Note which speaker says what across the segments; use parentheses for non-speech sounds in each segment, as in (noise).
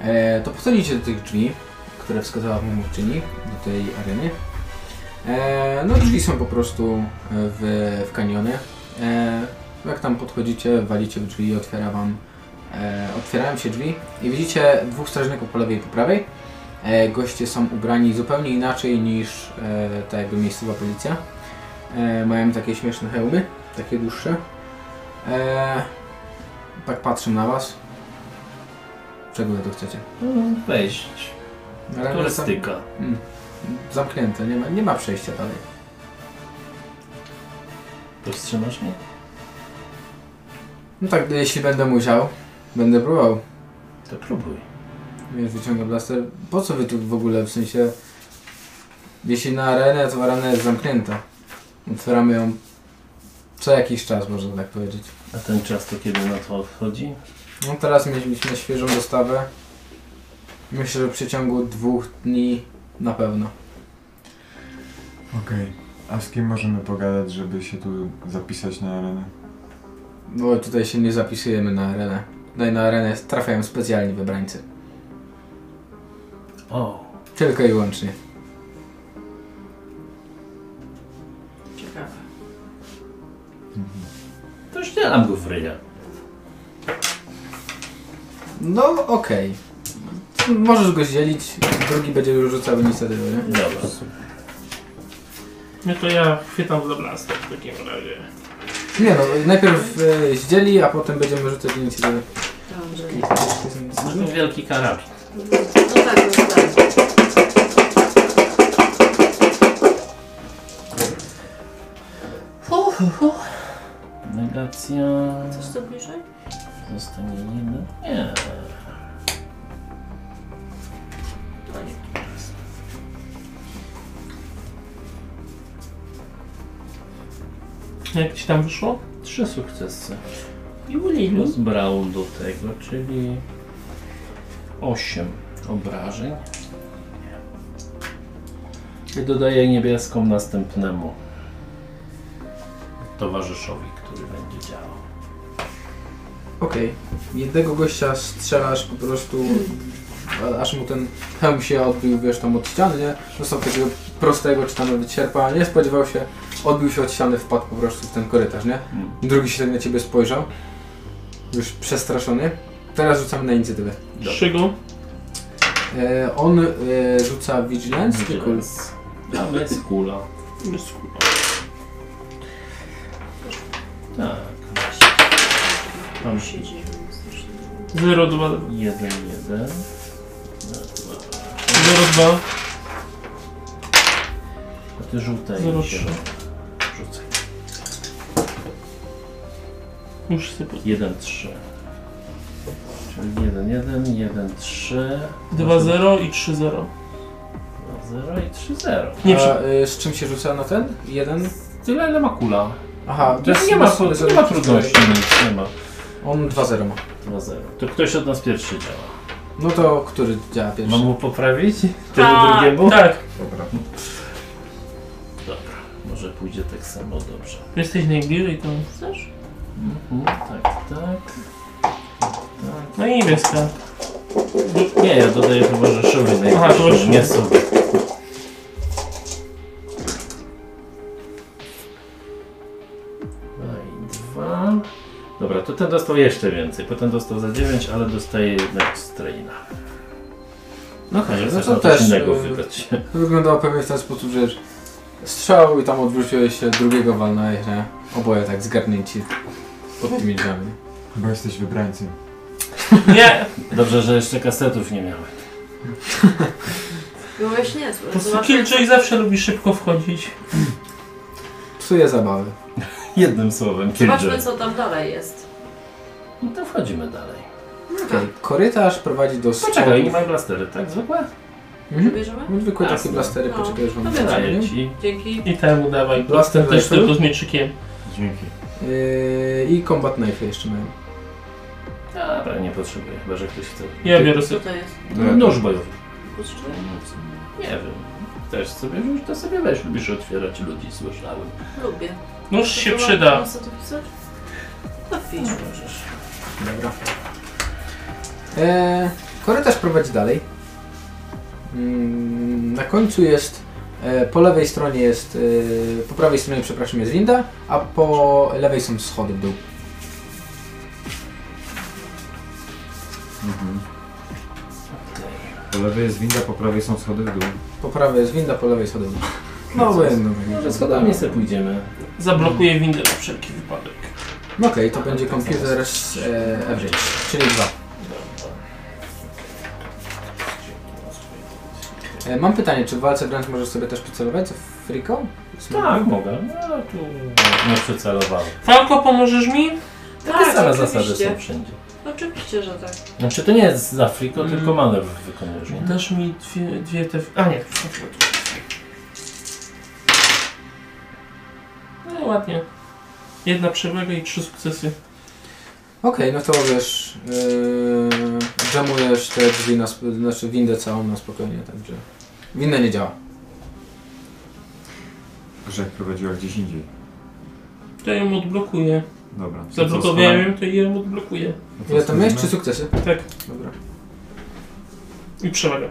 Speaker 1: E, to podchodzicie do tych drzwi, które wskazała wam mówczyni, do tej areny. E, no drzwi są po prostu w, w kanionie. E, jak tam podchodzicie, walicie w drzwi i otwiera wam, e, otwierają się drzwi i widzicie dwóch strażników po lewej i po prawej. E, goście są ubrani zupełnie inaczej niż e, ta jakby miejscowa policja. E, mają takie śmieszne hełmy, takie dłuższe. E, tak patrzę na was. Czego wy tu chcecie?
Speaker 2: Wejść.
Speaker 1: Ale zam-
Speaker 2: Turystyka.
Speaker 1: zamknięte, nie ma, nie ma przejścia dalej.
Speaker 2: Powstrzymasz mnie?
Speaker 1: No tak, jeśli będę musiał, będę próbował.
Speaker 2: To próbuj.
Speaker 1: Wiesz, wyciągam blaster. Po co wy tu w ogóle, w sensie... Jeśli na arenę, to arena jest zamknięta. Otwieramy ją co jakiś czas, można tak powiedzieć.
Speaker 2: A ten czas to kiedy na to odchodzi?
Speaker 1: No teraz mieliśmy świeżą dostawę. Myślę, że w przeciągu dwóch dni na pewno.
Speaker 3: Okej. A z kim możemy pogadać, żeby się tu zapisać na arenę?
Speaker 1: Bo tutaj się nie zapisujemy na arenę. Tutaj na arenę trafiają specjalni wybrańcy.
Speaker 2: O,
Speaker 1: Tylko i wyłącznie.
Speaker 4: Ciekawe.
Speaker 2: to już nie nam go w ryja.
Speaker 1: No okej. Możesz go zdzielić, drugi będzie już rzucał inicjatywę, nie?
Speaker 2: Dobra.
Speaker 4: No to ja chwytam za blaster w takim razie.
Speaker 1: Nie no, najpierw e, zdzieli, a potem będziemy rzucać inicjatywę.
Speaker 5: Dobrze.
Speaker 2: No to wielki karabin.
Speaker 5: No tak, no tak.
Speaker 2: Negacja.
Speaker 5: Coś tu bliżej?
Speaker 2: Zostanie jedna. Nie.
Speaker 5: No nie.
Speaker 4: Jak ci tam wyszło?
Speaker 2: Trzy sukcesy.
Speaker 4: I ulinu.
Speaker 2: Plus brał do tego, czyli 8 obrażeń. I dodaję niebieską następnemu towarzyszowi, który będzie działał.
Speaker 1: Okej. Jednego gościa strzelasz po prostu, a- aż mu ten hełm się odbił, wiesz, tam od ściany, nie? Dostał takiego prostego, czy tam nawet sierpa, nie spodziewał się, odbił się od ściany, wpadł po prostu w ten korytarz, nie?
Speaker 2: Mm.
Speaker 1: Drugi się tak na ciebie spojrzał, już przestraszony. Teraz rzucamy na inicjatywę.
Speaker 4: Szygo.
Speaker 1: E, on e, rzuca Vigilance, czy kul?
Speaker 2: Więc Tam jest kula.
Speaker 4: Jest kurwa.
Speaker 2: Tak.
Speaker 5: Tam
Speaker 2: Tam
Speaker 5: siedzi.
Speaker 4: Zero dwa.
Speaker 2: Jeden, jeden.
Speaker 4: Zero dwa.
Speaker 2: A ty żółtej.
Speaker 4: Zero
Speaker 2: się
Speaker 4: trzy.
Speaker 2: Rzucaj.
Speaker 4: Muszę sobie pod...
Speaker 2: 1, 3. Czyli 1, 1, 1, 3.
Speaker 4: Dwa zero i trzy zero.
Speaker 2: 0 i 3, 0.
Speaker 4: Nie
Speaker 1: A,
Speaker 4: przy...
Speaker 1: e, z czym się rzuca na ten? Jeden?
Speaker 2: Tyle, ile ma kula.
Speaker 1: Aha,
Speaker 2: To
Speaker 1: bez-
Speaker 2: nie, ma,
Speaker 1: bez-
Speaker 2: pro-
Speaker 1: bez-
Speaker 2: nie ma trudności, nic nie ma.
Speaker 1: On 2-0 ma.
Speaker 2: 2, 0. To ktoś od nas pierwszy działa.
Speaker 1: No to który działa pierwszy?
Speaker 2: Mam No mu poprawić? Temu
Speaker 5: Tak.
Speaker 2: drugiemu?
Speaker 4: Tak,
Speaker 3: Dobra.
Speaker 2: Dobra, może pójdzie tak samo dobrze.
Speaker 4: jesteś najbliżej to.
Speaker 5: Chcesz?
Speaker 2: Mhm, tak, tak.
Speaker 4: No i niebieska.
Speaker 2: Nie, ja dodaję towarzyszowi najbliższym,
Speaker 4: towarzyszowi.
Speaker 2: nie sobie. Dwa i dwa. Dobra, to ten dostał jeszcze więcej. Potem dostał za 9, ale dostaje jednak straina.
Speaker 1: No
Speaker 2: A nie
Speaker 1: no
Speaker 2: chcesz
Speaker 1: to
Speaker 2: na coś
Speaker 1: też
Speaker 2: innego
Speaker 1: y,
Speaker 2: wybrać.
Speaker 1: to wyglądało pewnie w ten sposób, że strzał i tam odwróciłeś się, drugiego walnąłeś, nie? Oboje tak zgarnięci pod tymi drzwiami.
Speaker 3: Bo jesteś wybrańcem.
Speaker 4: Nie!
Speaker 2: (laughs) Dobrze, że jeszcze kasetów nie miałem. (laughs)
Speaker 5: Byłeś niezły.
Speaker 4: Po prostu
Speaker 5: Zobaczmy,
Speaker 4: Killjoy zawsze lubi szybko wchodzić.
Speaker 1: Psuje zabawy.
Speaker 2: Jednym słowem,
Speaker 5: zobaczmy
Speaker 2: Killjoy.
Speaker 5: co tam dalej jest.
Speaker 2: No to wchodzimy dalej.
Speaker 1: Okej, Korytarz prowadzi do
Speaker 2: Tak. Poczekaj, nie mają blastery, tak? Zwykłe?
Speaker 1: Mhm.
Speaker 5: Bierzemy?
Speaker 1: No Zwykłe takie
Speaker 2: Jasne.
Speaker 1: blastery,
Speaker 5: No,
Speaker 1: poczekaj, że
Speaker 5: to
Speaker 1: mam
Speaker 2: Daję ci.
Speaker 5: Dzięki.
Speaker 4: I temu dawaj.
Speaker 1: Blaster
Speaker 4: Też
Speaker 1: rifle?
Speaker 4: tylko z mieczykiem.
Speaker 3: Dzięki.
Speaker 1: Yy, I combat knife jeszcze mają.
Speaker 2: Dobra, nie potrzebuję, chyba że ktoś chce.
Speaker 4: Ja biorę
Speaker 5: Co
Speaker 4: sobie.
Speaker 5: to jest?
Speaker 2: Nóż bojowy.
Speaker 5: Puszczy?
Speaker 2: Nie wiem. Też sobie wziąć, to sobie weź. Lubisz otwierać ludzi, słyszałem.
Speaker 5: Lubię.
Speaker 4: Nóż No się
Speaker 5: To mam-
Speaker 4: przyda.
Speaker 5: mam sobie pisać?
Speaker 2: No.
Speaker 5: No pisz możesz.
Speaker 1: Dobra. Eee, Korytarz prowadzi dalej. Mm, Na końcu jest, e, po lewej stronie jest, e, po prawej stronie, przepraszam, jest winda, a po lewej są schody w dół.
Speaker 3: Mhm. Po lewej jest winda, po prawej są schody w dół.
Speaker 1: Po prawej jest winda, po lewej schody w dół. No,
Speaker 2: co
Speaker 1: będą.
Speaker 2: Może schodami sobie pójdziemy.
Speaker 4: Zablokuję windę na wszelki wypadek.
Speaker 1: No Okej, to będzie komputer z e, average, czyli dwa. E, Mam pytanie, czy w walce wręcz możesz sobie też przycelować z friką? Z
Speaker 2: Tak, mogę. No tu nie przycelowałem.
Speaker 4: Falko, pomożesz mi?
Speaker 2: Takie
Speaker 5: Tak,
Speaker 2: same
Speaker 5: oczywiście.
Speaker 2: zasady są wszędzie.
Speaker 5: Oczywiście, że tak.
Speaker 2: Znaczy to nie jest z Afriko,
Speaker 4: Mm.
Speaker 2: tylko manewr wykonujesz. nie?
Speaker 4: Dasz mi dwie, dwie te... A nie. No i ładnie. Jedna przewaga i trzy sukcesy.
Speaker 1: Okej, no to wiesz, yy, jamujesz te drzwi, na, sp- znaczy windę całą na spokojnie, także winda nie działa.
Speaker 3: Grzech prowadziła gdzieś indziej.
Speaker 4: To ja ją odblokuję.
Speaker 3: Dobra.
Speaker 4: Zablokowałem ją, to ja ją odblokuję.
Speaker 3: No
Speaker 1: Ile to miałeś?
Speaker 3: schodzimy.
Speaker 1: Trzy sukcesy?
Speaker 4: Tak.
Speaker 1: Dobra.
Speaker 4: I przewaga.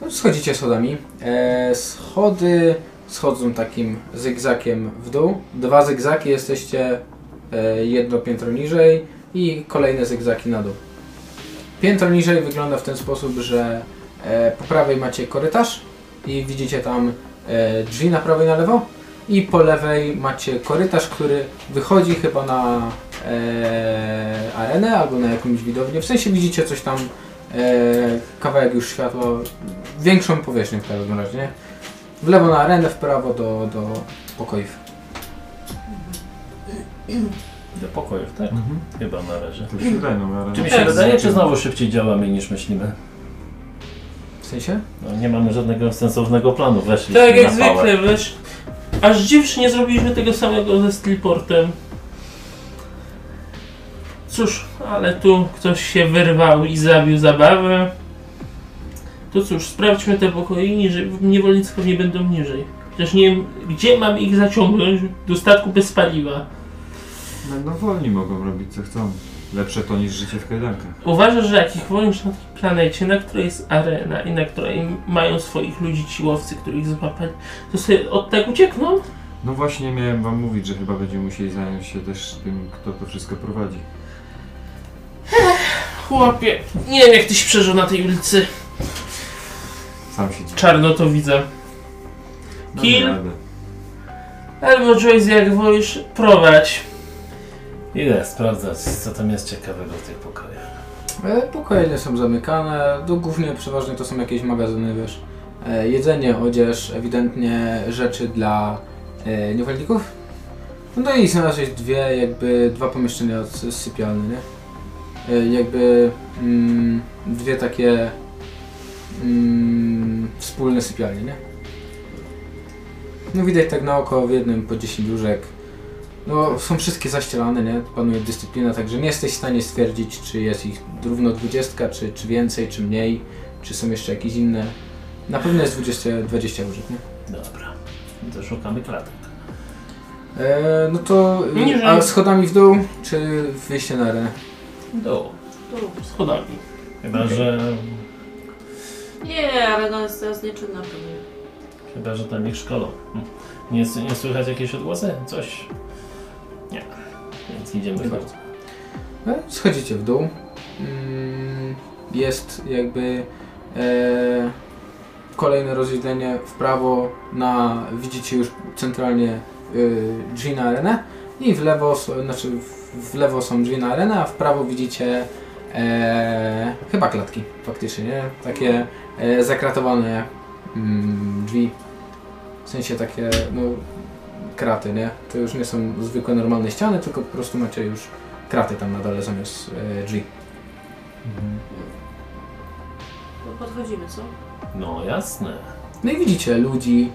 Speaker 1: No, schodzicie schodami. E, schody schodzą takim zygzakiem w dół. Dwa zygzaki jesteście e, jedno piętro niżej i kolejne zygzaki na dół. Piętro niżej wygląda w ten sposób, że e, po prawej macie korytarz i widzicie tam e, drzwi na prawo i na lewo. I po lewej macie korytarz, który wychodzi chyba na e, arenę albo na jakąś widownię. W sensie widzicie coś tam, e, kawałek już światła, większą powierzchnię w każdym razie. nie? W lewo na arenę, w prawo do, do pokojów.
Speaker 2: Do pokojów, tak?
Speaker 3: Mhm.
Speaker 2: Chyba na razie.
Speaker 3: To się wydaje, no ale...
Speaker 2: Czy mi się
Speaker 4: Tak.
Speaker 2: wydaje, czy znowu szybciej działamy niż myślimy?
Speaker 1: W sensie?
Speaker 2: No, nie mamy żadnego sensownego planu, weszliśmy
Speaker 4: Tak jak
Speaker 2: na pałę.
Speaker 4: zwykle, wiesz. Aż dziwnie nie zrobiliśmy tego samego ze Steelportem. Cóż, ale tu ktoś się wyrwał i zabił zabawę. To cóż, sprawdźmy te pokoje niżej, niewolnictwo nie będą niżej. Chociaż nie wiem, gdzie mam ich zaciągnąć do statku bez paliwa.
Speaker 3: Będą No, wolni, mogą robić co chcą. Lepsze to niż życie w kajdankach.
Speaker 4: Uważasz, że jak ich wolisz na tej planecie, na której jest arena i na której mają swoich ludzi siłowcy, których złapali, to sobie od tak uciekną?
Speaker 3: No właśnie miałem wam mówić, że chyba będziemy musieli zająć się też tym, kto to wszystko prowadzi.
Speaker 4: Chłopie, nie wiem jak tyś przeżył na tej ulicy.
Speaker 3: Sam się dziwię.
Speaker 4: Czarno to widzę.
Speaker 3: Damy
Speaker 4: Kill.
Speaker 3: radę.
Speaker 4: Albo Joyce, jak wolisz, prowadź.
Speaker 2: Idę sprawdzać, co tam jest ciekawego w tych pokojach.
Speaker 1: E, Pokoje nie są zamykane, to głównie przeważnie to są jakieś magazyny, wiesz. E, Jedzenie, odzież, ewidentnie rzeczy dla e, niewolników. No i znalazłeś dwie, jakby dwa pomieszczenia od z sypialni, nie? E, Jakby mm, dwie takie mm, wspólne sypialnie, nie? No widać tak na oko w jednym po 10 łóżek. No, są wszystkie zaścielane, nie? Panuje dyscyplina, także nie jesteś w stanie stwierdzić, czy jest ich równo 20, czy, czy więcej, czy mniej, czy są jeszcze jakieś inne. Na pewno jest 20, 20 łóżek, nie?
Speaker 2: Dobra, to szukamy klatek.
Speaker 1: E, no to... e,
Speaker 4: Niżej.
Speaker 1: A schodami w dół, czy wyjście na arenę?
Speaker 2: Do.
Speaker 5: Tu.
Speaker 4: Schodami.
Speaker 2: Chyba, że...
Speaker 5: Nie, ale no jest teraz nieczynna pewnie.
Speaker 2: Chyba, że tam ich szkolą. Hmm. Nie, s- nie słychać jakieś odgłosy? Coś? Nie. Więc idziemy
Speaker 1: Nie
Speaker 2: w dół.
Speaker 1: bardzo. E, Schodzicie w dół. Mm, Jest jakby e, kolejne rozdzielenie w prawo na, widzicie już centralnie e, drzwi na arenę i w lewo, s- znaczy w- w lewo są drzwi na arenę, a w prawo widzicie e, chyba klatki faktycznie, nie? Takie e, zakratowane mm, drzwi, w sensie takie no, kraty, nie? To już nie są zwykłe normalne ściany, tylko po prostu macie już kraty tam na dole zamiast e, drzwi.
Speaker 3: Mhm.
Speaker 5: No podchodzimy, co?
Speaker 2: No jasne.
Speaker 1: No i widzicie ludzi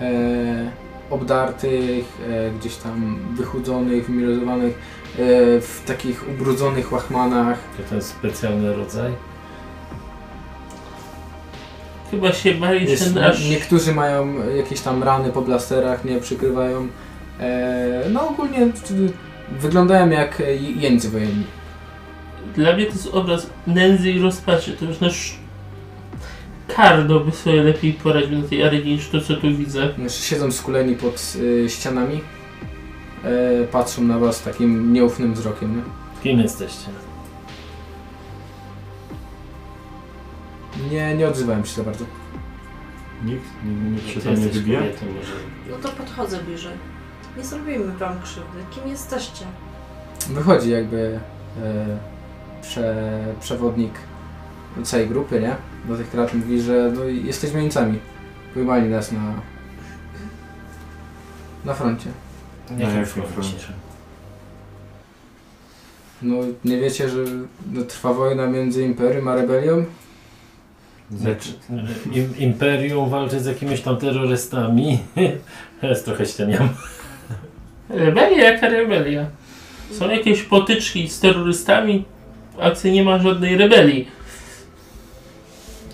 Speaker 1: e, obdartych, e, gdzieś tam wychudzonych, wymirozowanych, e, w takich ubrudzonych łachmanach.
Speaker 2: Czy to jest specjalny rodzaj?
Speaker 4: Chyba się bali, że
Speaker 1: Jest,
Speaker 4: nasz...
Speaker 1: niektórzy mają jakieś tam rany po blasterach, nie przykrywają. E, no ogólnie w- w- wyglądają jak e, jeńcy wojenni.
Speaker 4: Dla mnie to jest obraz nędzy i rozpaczy. To już nasz Kardo by sobie lepiej poradził na tej arenie niż to, co tu widzę.
Speaker 1: Znaczy siedzą skuleni pod y, ścianami, e, patrzą na was takim nieufnym wzrokiem, nie?
Speaker 2: Kim jesteście?
Speaker 1: Nie, nie odzywałem się za bardzo.
Speaker 3: Nikt? Nikt, nikt się
Speaker 2: Ty
Speaker 3: tam nie
Speaker 2: jesteś
Speaker 3: wybija?
Speaker 2: kobietą, może.
Speaker 5: No to podchodzę bliżej. Nie zrobimy wam krzywdy. Kim jesteście?
Speaker 1: Wychodzi jakby e, prze, przewodnik całej grupy, nie? Do tych krat mówi, że no, jesteśmy jeńcami. Pojmali nas na, na froncie.
Speaker 3: Na jakim
Speaker 2: froncie?
Speaker 3: froncie?
Speaker 1: No nie wiecie, że no, trwa wojna między Imperium a Rebelią?
Speaker 3: Znaczy,
Speaker 2: Im, imperium walczy z jakimiś tam terrorystami. (laughs) Jest trochę ścianiam.
Speaker 4: Rebelia jaka rebelia? Są jakieś potyczki z terrorystami, a ty nie ma żadnej rebelii.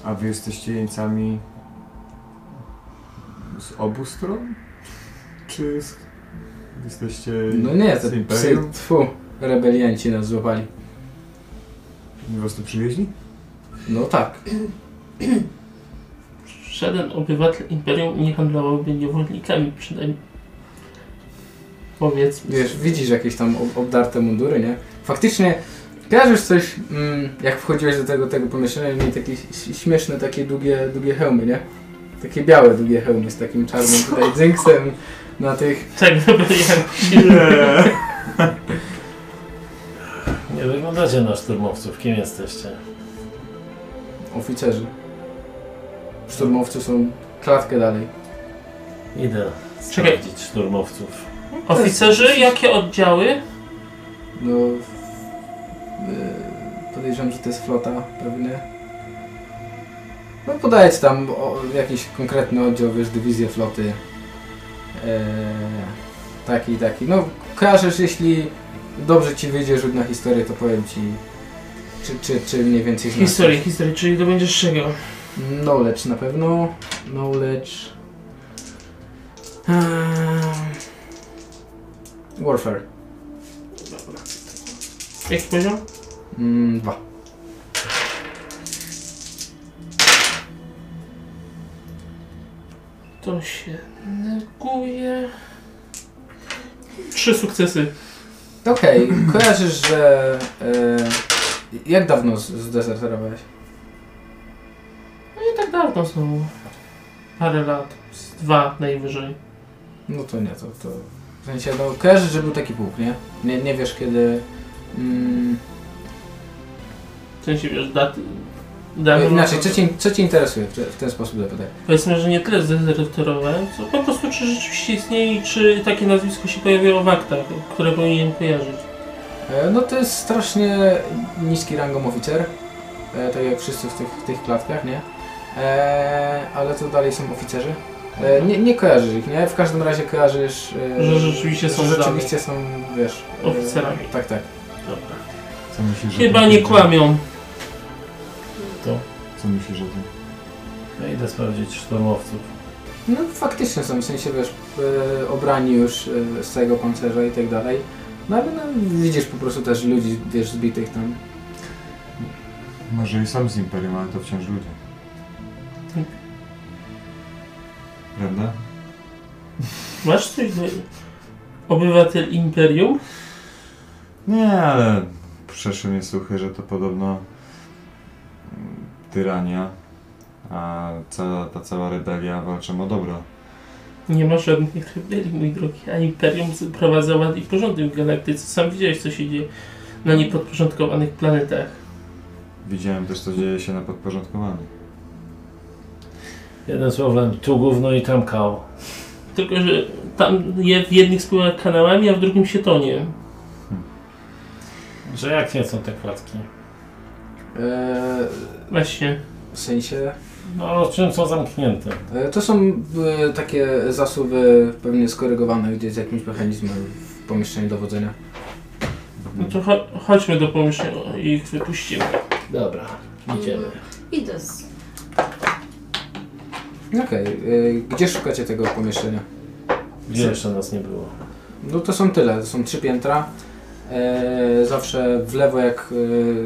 Speaker 3: a wy jesteście jeńcami z obu stron? Czy z... jesteście
Speaker 1: No nie,
Speaker 3: z
Speaker 1: te psy,
Speaker 3: Imperium?
Speaker 1: tfu, rebelianci nas złapali.
Speaker 3: Wy Was tu przywieźli?
Speaker 1: No tak.
Speaker 4: Żaden obywatel imperium nie handlowałby niewolnikami, przynajmniej. Powiedzmy.
Speaker 1: Wiesz, widzisz jakieś tam ob- obdarte mundury, nie? Faktycznie kojarzysz coś, mm, jak wchodziłeś do tego, tego pomieszczenia, mieli takie ś- śmieszne, takie długie, długie hełmy, nie? Takie białe, długie hełmy z takim czarnym tutaj dzinksem na tych...
Speaker 4: Tak, rebelia.
Speaker 2: Nie wyglądacie na szturmowców. Kim jesteście?
Speaker 1: Oficerzy. Szturmowcy są klatkę dalej.
Speaker 2: Idę
Speaker 4: Czekaj.
Speaker 2: sprawdzić szturmowców.
Speaker 4: Oficerzy, jakie oddziały?
Speaker 1: No... y, podejrzewam, że to jest flota pewnie. No podaję ci tam o, jakiś konkretny oddział, wiesz, dywizję floty. Eee, taki, taki. No kojarzysz, jeśli dobrze ci wyjdzie rzut na historię, to powiem ci, czy, czy, czy mniej więcej znasz.
Speaker 4: Historię, historię, czyli to będziesz czego?
Speaker 1: Knowledge na pewno. Knowledge... Eee, warfare.
Speaker 4: Jaki poziom?
Speaker 1: Mm, dwa.
Speaker 4: To się neguje. Trzy sukcesy.
Speaker 1: Okej, kojarzysz, że. E, jak dawno z- zdezerterowałeś?
Speaker 4: No nie tak dawno znowu. Parę lat. Z dwa najwyżej.
Speaker 1: No to nie, to. to w sensie, no, kojarzysz, że był taki pułk, nie? Nie, nie wiesz kiedy. Mm,
Speaker 4: W sensie wiesz, daty.
Speaker 1: e,
Speaker 4: daty
Speaker 1: inaczej, co cię, co cię interesuje? W, te, w ten sposób zapytaj.
Speaker 4: Powiedzmy, że nie tyle zdezerterowałem, co po prostu czy rzeczywiście istnieje i czy takie nazwisko się pojawiło w aktach, które powinienem kojarzyć.
Speaker 1: E, no to jest strasznie niski rangą oficer. E, tak jak wszyscy w tych, w tych klatkach, nie? E, ale to dalej są oficerzy. E, nie, nie kojarzysz ich, nie? W każdym razie kojarzysz. E,
Speaker 4: Że rzeczywiście są
Speaker 1: Że
Speaker 4: zdane.
Speaker 1: rzeczywiście są, wiesz. e,
Speaker 4: Oficerami.
Speaker 1: Tak, tak.
Speaker 2: Dobra.
Speaker 3: Co myślisz, że
Speaker 4: Chyba
Speaker 3: to-
Speaker 4: nie kłamią.
Speaker 3: Co myślisz o tym?
Speaker 2: No idę sprawdzić szturmowców.
Speaker 1: No faktycznie są, w sensie wiesz, e, obrani już e, z całego pancerza i tak dalej. No ale no, widzisz po prostu też ludzi, wiesz, zbitych tam.
Speaker 3: Może i sam z Imperium, ale to wciąż ludzie.
Speaker 4: Tak.
Speaker 3: Prawda?
Speaker 4: Masz coś do... Obywatel Imperium?
Speaker 3: Nie, ale przeszły mnie słuchy, że to podobno mm, tyrania, a cała, ta cała rebelia walczą o dobro.
Speaker 4: Nie ma żadnych rebelii, mój drogi, a Imperium prowadza ład i porządek w galaktyce. Sam widziałeś, co się dzieje na niepodporządkowanych planetach.
Speaker 3: Widziałem też, co dzieje się na podporządkowanych.
Speaker 2: Jednym słowem, tu gówno i tam kał.
Speaker 4: Tylko, że tam je w jednych spływa kanałami, a w drugim się tonie.
Speaker 2: Że jak nie są te klatki?
Speaker 1: E,
Speaker 4: Właśnie.
Speaker 1: w sensie.
Speaker 2: No, czym są zamknięte?
Speaker 1: E, to są e, takie zasuwy pewnie skorygowane gdzieś z jakimś mechanizmem w pomieszczeniu dowodzenia.
Speaker 4: No to cho chodźmy do pomieszczenia
Speaker 3: Tak.
Speaker 4: i ich wypuścimy.
Speaker 2: Dobra, idziemy.
Speaker 5: Idę z...
Speaker 1: Okej, e, gdzie szukacie tego pomieszczenia?
Speaker 2: Gdzie jeszcze nas nie było?
Speaker 1: No to są tyle, to są trzy piętra. E, zawsze w lewo jak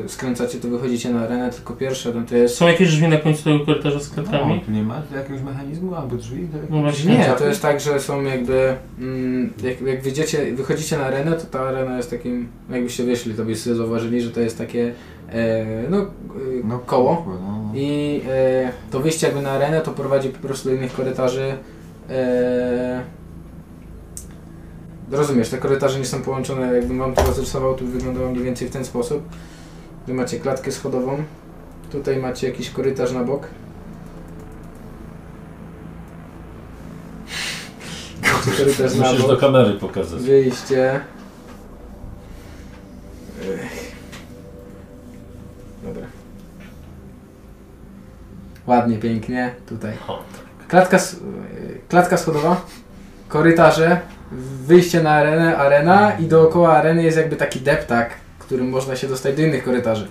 Speaker 1: e, skręcacie, to wychodzicie na arenę, tylko pierwsze tam to jest...
Speaker 4: Są jakieś drzwi na końcu tego korytarza z
Speaker 3: No,
Speaker 4: kratami?
Speaker 3: tu nie ma jakiegoś mechanizmu albo drzwi? tak? Do
Speaker 4: No właśnie.
Speaker 1: Nie, to jest tak, że są jakby... Mm, jak, jak wyjdziecie, wychodzicie na arenę, to ta arena jest takim... Jakbyście wyszli, to byście zauważyli, że to jest takie... E, no, e,
Speaker 3: No
Speaker 1: koło.
Speaker 3: kurwa, No, no.
Speaker 1: I e, to wyjście jakby na arenę to prowadzi po prostu do innych korytarzy. E, rozumiesz, te korytarze nie są połączone. Jakbym wam to rozrysował, to by wyglądało mniej więcej w ten sposób. Tu macie klatkę schodową, tutaj macie jakiś korytarz na bok. Macie Korytarz na
Speaker 6: Musisz do
Speaker 1: bok,
Speaker 6: kamery pokazać.
Speaker 1: wyjście. Ech. Dobra. Ładnie, pięknie, tutaj.
Speaker 2: O,
Speaker 1: Klatka, s- yy, klatka schodowa, korytarze, wyjście na arenę, arena i dookoła areny jest jakby taki deptak, którym można się dostać do innych korytarzy.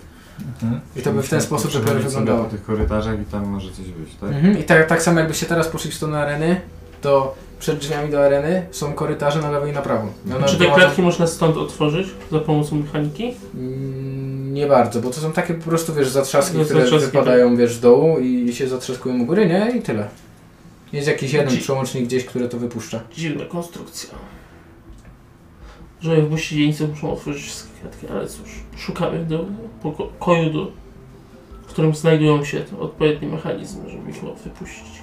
Speaker 2: Hmm?
Speaker 1: I to by w ten sposób dopiero
Speaker 3: Przechodzić sobie
Speaker 1: wyglądało.
Speaker 3: po tych korytarzach i tam może coś być, tak?
Speaker 1: Mhm. I tak, tak samo jakbyście teraz poszli w stronę areny, to przed drzwiami do areny są korytarze na lewo i na prawo. I one
Speaker 4: Czy Znaczy te
Speaker 1: prowadzą-
Speaker 4: kratki można stąd otworzyć za pomocą mechaniki?
Speaker 1: Mm, Nie bardzo, bo to są takie po prostu, wiesz, zatrzaski,
Speaker 4: No,
Speaker 1: które
Speaker 4: zatrzaski,
Speaker 1: wypadają, wiesz, z dołu i się zatrzaskują u góry, nie? I tyle. Jest jakiś jeden
Speaker 4: Dzi-
Speaker 1: przełącznik gdzieś, który to wypuszcza.
Speaker 4: Dziwna konstrukcja. Że w siedzińcy muszą otworzyć wszystkie kratki, ale cóż, szukamy do pokoju, do, w którym znajdują się te odpowiednie mechanizmy, żeby ich było wypuścić.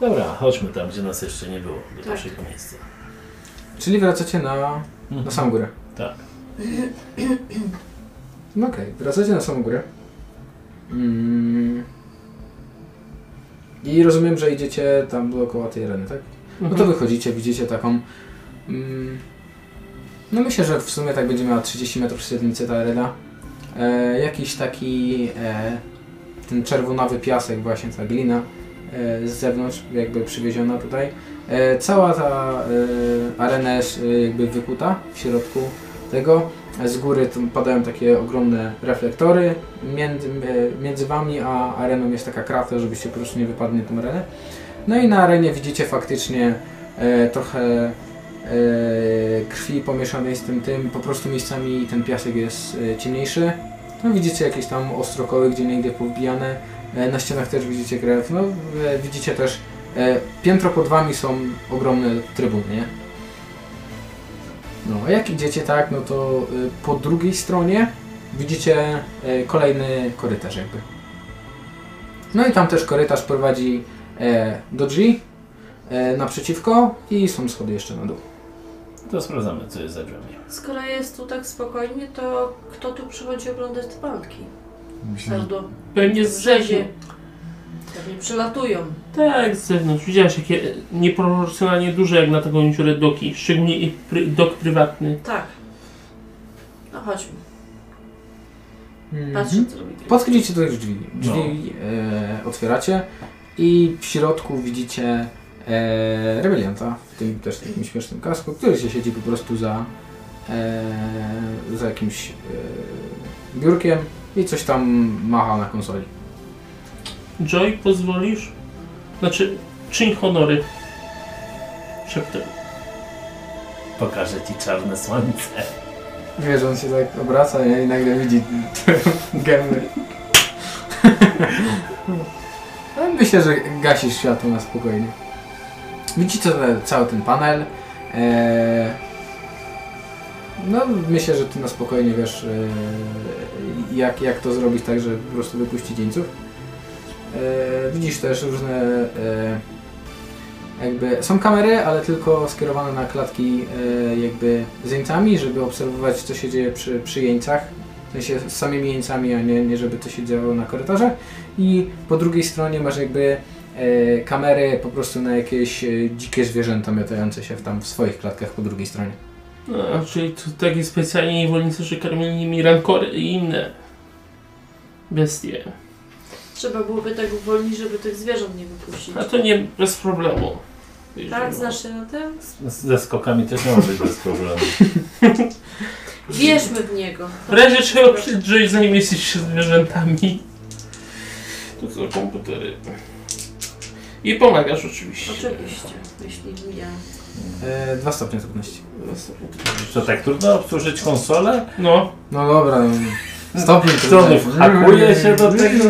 Speaker 2: Dobra, chodźmy tam, gdzie nas jeszcze nie było, do
Speaker 5: Tak.
Speaker 2: naszego miejsca.
Speaker 1: Czyli wracacie na, na samą górę.
Speaker 2: Tak.
Speaker 1: No okej, wracacie na samą górę. Mm. I rozumiem, że idziecie tam dookoła tej areny, tak? No
Speaker 4: Mhm.
Speaker 1: to wychodzicie, widzicie taką. Mm, no myślę, że w sumie tak będzie miała 30 metrów średnicy ta arena. E, jakiś taki e, ten czerwonawy piasek, właśnie ta glina e, z zewnątrz, jakby przywieziona tutaj. E, cała ta e, arena jest e, jakby wykuta w środku tego. E, Z góry tam padają takie ogromne reflektory. Między, e, między wami a areną jest taka krata, żebyście po prostu nie wypadli na tą arenę. No i na arenie widzicie faktycznie e, trochę e, krwi pomieszanej z tym tym. Po prostu miejscami ten piasek jest e, ciemniejszy. No widzicie jakieś tam ostrokoły, gdzie niegdzie powbijane. E, na ścianach też widzicie krew. No e, widzicie też e, piętro pod wami są ogromne trybuny, nie? No, a jak idziecie tak, no to y, po drugiej stronie widzicie y, kolejny korytarz jakby. No i tam też korytarz prowadzi e, do drzwi e, naprzeciwko i są schody jeszcze na dół.
Speaker 2: To sprawdzamy, co jest za drzwiami.
Speaker 5: Skoro jest tu tak spokojnie, to kto tu przychodzi oglądać te balki?
Speaker 3: Myślę,
Speaker 5: Aż
Speaker 3: że
Speaker 5: do
Speaker 4: Pewnie z rzezie.
Speaker 5: rzezie. Pewnie przylatują.
Speaker 4: Tak, z zewnątrz. Widziałeś, jakie nieproporcjonalnie duże jak na taką dziurę doki, szczególnie i pry, dok prywatny.
Speaker 5: Tak. No chodźmy.
Speaker 1: Mhm.
Speaker 5: Patrzę, co robi.
Speaker 1: Podchodzicie do tych drzwi. Drzwi e, otwieracie i w środku widzicie e, rebelianta w tym też takim śmiesznym kasku, który się siedzi po prostu za, e, za jakimś e, biurkiem i coś tam macha na konsoli.
Speaker 4: Joy, pozwolisz? Znaczy, czyń honory. Szeptem.
Speaker 2: Pokażę ci czarne słońce.
Speaker 1: Wiesz, on się tak obraca nie? i nagle widzi (laughs) gęby. Ale No, Myślę, że gasisz światło na spokojnie. Widzicie te- cały ten panel. Eee, no myślę, że ty na spokojnie wiesz eee, jak, jak to zrobić tak, że po prostu wypuścić jeńców. Eee, widzisz też różne eee, jakby są kamery, ale tylko skierowane na klatki e, jakby z jeńcami, żeby obserwować co się dzieje przy, przy jeńcach. W sensie z samymi jeńcami, a nie, nie żeby to się działo na korytarzach. I po drugiej stronie masz jakby e, kamery po prostu na jakieś e, dzikie zwierzęta miotające się w tam w swoich klatkach po drugiej stronie.
Speaker 4: No, A, czyli to takie specjalnie niewolnicy, że karmili nimi rankory i inne bestie.
Speaker 5: Trzeba byłoby tak uwolnić, żeby tych zwierząt nie wypuścić.
Speaker 4: A to nie bez problemu.
Speaker 5: Tak, znasz się na tym?
Speaker 2: Z- Ze skokami też nie ma być bez problemu.
Speaker 5: Wierzmy w niego.
Speaker 4: W razie czego przed Joy zajmie się zwierzętami. To są komputery. I pomagasz oczywiście.
Speaker 5: Oczywiście, jeśli nie
Speaker 1: E, dwa stopnie trudności.
Speaker 2: To tak trudno obsłużyć konsolę?
Speaker 4: No,
Speaker 1: No dobra, (laughs) no. stopień
Speaker 2: Strony
Speaker 1: trudności.
Speaker 2: hakuje się do tego.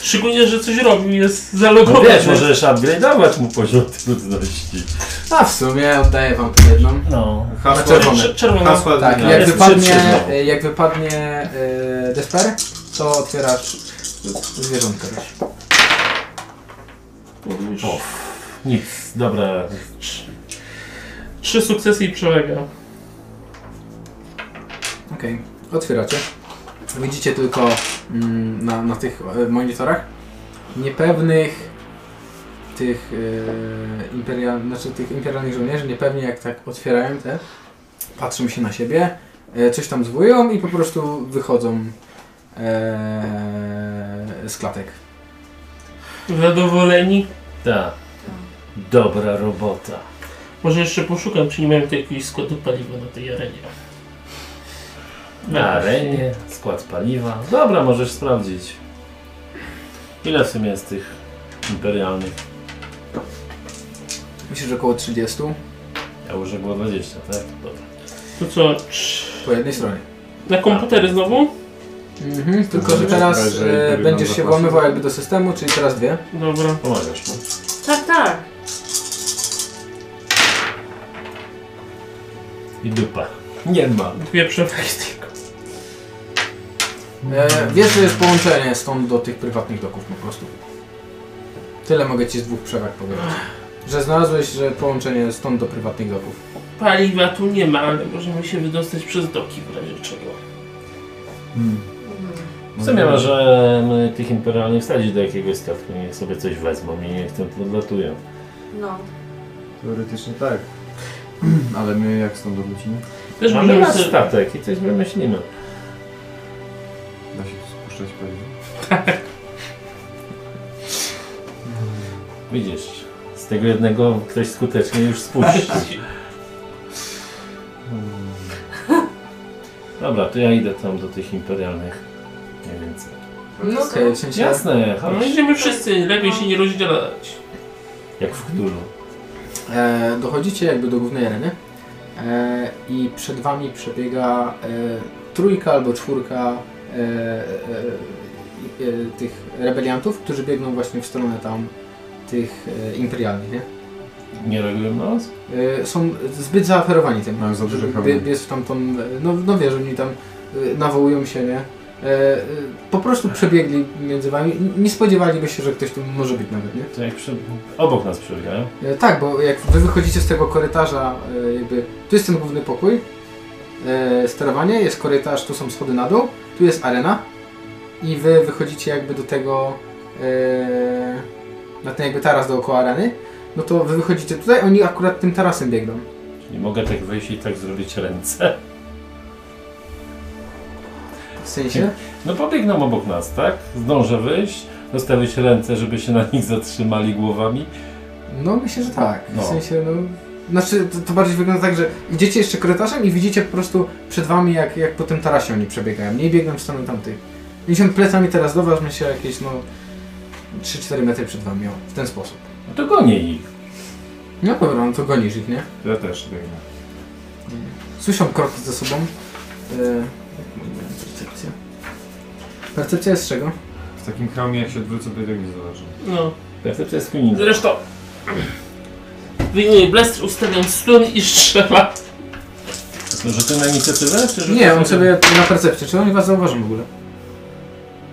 Speaker 4: szczególnie, że coś robił, jest
Speaker 2: No
Speaker 4: zalogowany.
Speaker 2: wiesz, możesz upgrade'ować mu poziom trudności.
Speaker 1: A w sumie oddaję wam tu jedną.
Speaker 2: No.
Speaker 1: Na
Speaker 3: Hasło,
Speaker 1: czerwone.
Speaker 4: Czer- Czerwona.
Speaker 3: hasło
Speaker 1: Znaczy, Tak,
Speaker 3: dnia.
Speaker 1: jak
Speaker 2: jest
Speaker 1: wypadnie,
Speaker 2: przyczyną.
Speaker 1: e, jak wypadnie e, Desper, to otwierasz zwierzątko też.
Speaker 2: O, nic, dobra.
Speaker 4: Trzy sukcesy i przewaga.
Speaker 1: Okej, otwieracie. Widzicie tylko mm, na, na tych e, monitorach niepewnych tych, e, imperial, znaczy tych imperialnych żołnierzy, niepewnie jak tak otwierają te, patrzą się na siebie, e, coś tam zwołują i po prostu wychodzą e, z klatek.
Speaker 4: Zadowoleni?
Speaker 2: Ta. Dobra robota.
Speaker 4: Może jeszcze poszukam, czy nie mają tu jakiegoś składu paliwa na tej arenie.
Speaker 2: Na arenie, skład paliwa. Dobra, możesz sprawdzić. Ile w sumie jest tych imperialnych?
Speaker 1: Myślę, że około 30
Speaker 2: Ja już było 20, tak? Dobra.
Speaker 4: To co? trz-
Speaker 1: po jednej stronie.
Speaker 4: Na komputery
Speaker 2: Tak.
Speaker 4: znowu?
Speaker 1: Mhm, tylko, że
Speaker 3: znaczy,
Speaker 1: teraz
Speaker 3: że
Speaker 1: e,
Speaker 3: jakby
Speaker 1: będziesz
Speaker 3: nam
Speaker 1: się
Speaker 3: zapłacił.
Speaker 1: włamywał jakby do systemu, czyli teraz dwie.
Speaker 4: Dobra.
Speaker 2: Pomagasz mu.
Speaker 5: Tak, tak.
Speaker 2: I dupa. Nie ma.
Speaker 4: Dwie przewagi tylko.
Speaker 1: E, wiesz, że jest połączenie stąd do tych prywatnych doków po prostu. Tyle mogę ci z dwóch przewag powiedzieć. Że znalazłeś, że połączenie stąd do prywatnych doków.
Speaker 4: Paliwa tu nie ma, ale możemy się wydostać przez doki w razie czego.
Speaker 5: Mhm.
Speaker 2: W sumie może my tych imperialnych wsadzić do jakiegoś statku, niech sobie coś wezmą i niech ten podlatują.
Speaker 5: No.
Speaker 3: Teoretycznie tak. Ale my jak stąd wrócimy?
Speaker 4: Też
Speaker 2: Mamy
Speaker 4: możemy
Speaker 2: nasz
Speaker 4: sobie...
Speaker 2: statek i coś wymyślimy.
Speaker 3: Da się tu spuszczać paliwo.
Speaker 2: Widzisz, z tego jednego ktoś skutecznie już spuścił. (laughs) Hmm. Dobra, to ja idę tam do tych imperialnych. Mniej więcej.
Speaker 1: No okej, w sensie...
Speaker 2: Jasne,
Speaker 4: No
Speaker 2: chodź.
Speaker 4: będziemy wszyscy, lepiej się nie rozdzielać.
Speaker 2: Jak w Cthulhu.
Speaker 1: E, dochodzicie jakby do głównej areny e, i przed wami przebiega e, trójka albo czwórka e, e, e, tych rebeliantów, którzy biegną właśnie w stronę tam tych e, imperialnych, nie?
Speaker 2: Nie reagują na nas?
Speaker 1: E, są zbyt zaaferowani tym.
Speaker 3: Mają za duże
Speaker 1: Żeby
Speaker 3: problemy.
Speaker 1: bie- Biec w tamtą, no, no wiesz, oni tam y, nawołują się, nie? E, y, po prostu przebiegli między wami. N- Nie spodziewaliby się, że ktoś tu może być nawet, nie?
Speaker 2: To jak przy... obok nas przebiegają.
Speaker 1: E, tak, bo jak wy wychodzicie z tego korytarza, e, jakby, tu jest ten główny pokój, e, sterowanie, jest korytarz, tu są schody na dół, tu jest arena i wy wychodzicie jakby do tego, e, na ten jakby taras dookoła areny, no to wy wychodzicie tutaj, oni akurat tym tarasem biegną.
Speaker 2: Czyli mogę tak wyjść i tak zrobić ręce. (laughs)
Speaker 1: W sensie?
Speaker 2: No pobiegną obok nas, tak? Zdążę wyjść, rozstawić ręce, żeby się na nich zatrzymali głowami.
Speaker 1: No myślę, że tak.
Speaker 2: No.
Speaker 1: W sensie, no... Znaczy, to, to bardziej wygląda tak, że idziecie jeszcze korytarzem i widzicie po prostu przed wami, jak, jak po tym tarasie oni przebiegają. Nie biegną w stronę tamtych. Oni się plecami teraz do was, myślę, jakieś, no... 3-4 metry przed wami, o, w ten sposób.
Speaker 2: No to gonię ich.
Speaker 1: No dobra, no to gonisz ich, nie?
Speaker 3: Ja też biegnę.
Speaker 1: Słyszą kroki za sobą. E, jak mówiłem, percepcja. Percepcja jest z czego?
Speaker 3: W takim chromie jak się odwrócę, to i tak nie zobaczę.
Speaker 4: No.
Speaker 2: Percepcja jest kunin.
Speaker 4: Zresztą. Wyjmuję blaster, ustawiam stun i strzela.
Speaker 2: No, rzuty na inicjatywę? Czy rzuty
Speaker 1: Nie, on sobie na percepcję. Czy oni was zauważą w ogóle?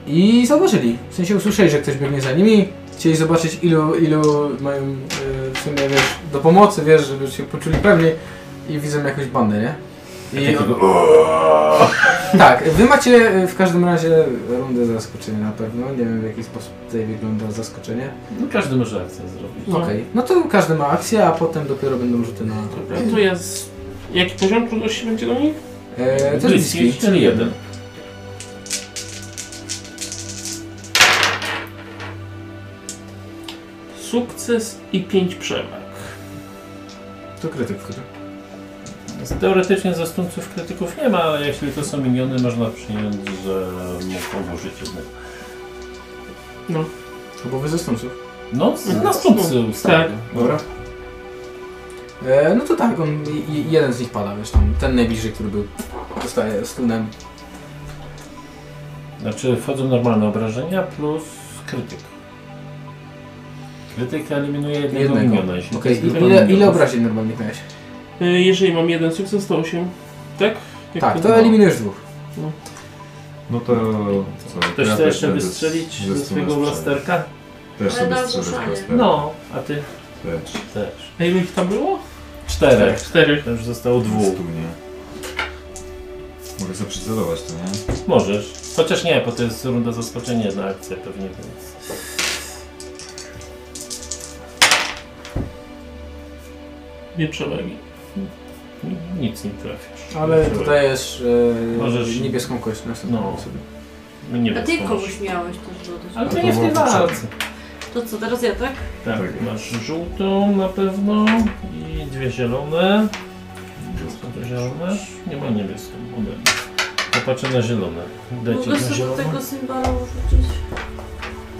Speaker 1: I zauważyli. W sensie usłyszeli, że ktoś biegnie za nimi. Chcieli zobaczyć ilu, ilu mają y, w sumie, wiesz, do pomocy, wiesz, żeby się poczuli pewniej. I widzą jakąś bandę, nie? I
Speaker 2: Takiego...
Speaker 1: tak, wy macie y, w każdym razie rundę zaskoczenia na pewno. Nie wiem w jaki sposób tutaj wygląda zaskoczenie.
Speaker 2: No każdy może akcję zrobić.
Speaker 4: No.
Speaker 1: Okej, no to każdy ma akcję, a potem dopiero będą rzuty na...
Speaker 4: Dobra, to ja z... Jaki poziom trudności będzie do nich?
Speaker 1: E, też
Speaker 2: Bliski,
Speaker 1: bliski.
Speaker 2: czyli jeden.
Speaker 4: Sukces i pięć przewag.
Speaker 1: To krytyk wchodzi.
Speaker 2: Teoretycznie zastępców krytyków nie ma, ale jeśli to są miniony, można przyjąć, że mogą użyć jednego.
Speaker 1: Obowy zastępców.
Speaker 2: No, z-
Speaker 4: Mhm.
Speaker 2: następcy ustawię.
Speaker 1: Dobra. E, no to tak, on, i- i- jeden z nich pada, wiesz tam, ten najbliżej, który był, zostaje stunem.
Speaker 2: Znaczy wchodzą normalne obrażenia plus krytyk. Krytyk eliminuje jednego,
Speaker 1: Jednego.
Speaker 2: miniona. jeśli to
Speaker 1: Okej,
Speaker 2: jest
Speaker 1: i-
Speaker 2: grupa
Speaker 1: ile, ile
Speaker 2: minionów.
Speaker 1: obrażeń normalnie miałeś?
Speaker 4: Y, Jeżeli mam jeden sukces, to 8. Tak? Jak
Speaker 1: Tak, to
Speaker 4: było?
Speaker 1: eliminujesz dwóch.
Speaker 3: No to co? to
Speaker 2: Ktoś
Speaker 3: ja
Speaker 2: chce
Speaker 3: też
Speaker 2: jeszcze
Speaker 3: będę
Speaker 2: wystrzelić
Speaker 3: ze
Speaker 2: ze swojego
Speaker 3: strzelał.
Speaker 2: blasterka?
Speaker 1: Tak.
Speaker 3: Też
Speaker 5: Ale
Speaker 3: sobie
Speaker 5: na
Speaker 3: strzelę z
Speaker 5: zmuszanie.
Speaker 3: blasterem.
Speaker 2: No, a ty
Speaker 3: Też.
Speaker 2: też.
Speaker 4: A ile ich tam było?
Speaker 2: Czterech.
Speaker 4: Czterech.
Speaker 2: To już zostało dwóch.
Speaker 3: Stu, nie? Mogę sobie przycelować to, nie?
Speaker 2: Możesz. Chociaż nie, bo to jest runda zaskoczenia na akcję pewnie, więc...
Speaker 4: Nie przewagi.
Speaker 2: Nic nie trafisz.
Speaker 1: Ale dodajesz e,
Speaker 2: Możesz-
Speaker 1: niebieską kość na
Speaker 2: No.
Speaker 1: no. sobie.
Speaker 2: Nie
Speaker 5: A ty
Speaker 2: wiesz, co możesz.
Speaker 5: kogoś miałeś też dodać.
Speaker 2: Ale
Speaker 3: A
Speaker 2: to
Speaker 3: to
Speaker 2: nie w tej
Speaker 3: było
Speaker 2: walce.
Speaker 5: To co, teraz ja, tak?
Speaker 2: Tak,
Speaker 3: Tak.
Speaker 2: masz żółtą na pewno i dwie zielone. Są to zielone? Nie ma niebieską. Ode mnie. Popatrzę na zielone. Dajcie
Speaker 5: Mogę
Speaker 2: na
Speaker 5: sobie do
Speaker 2: zielone.
Speaker 5: tego symbala rzucić?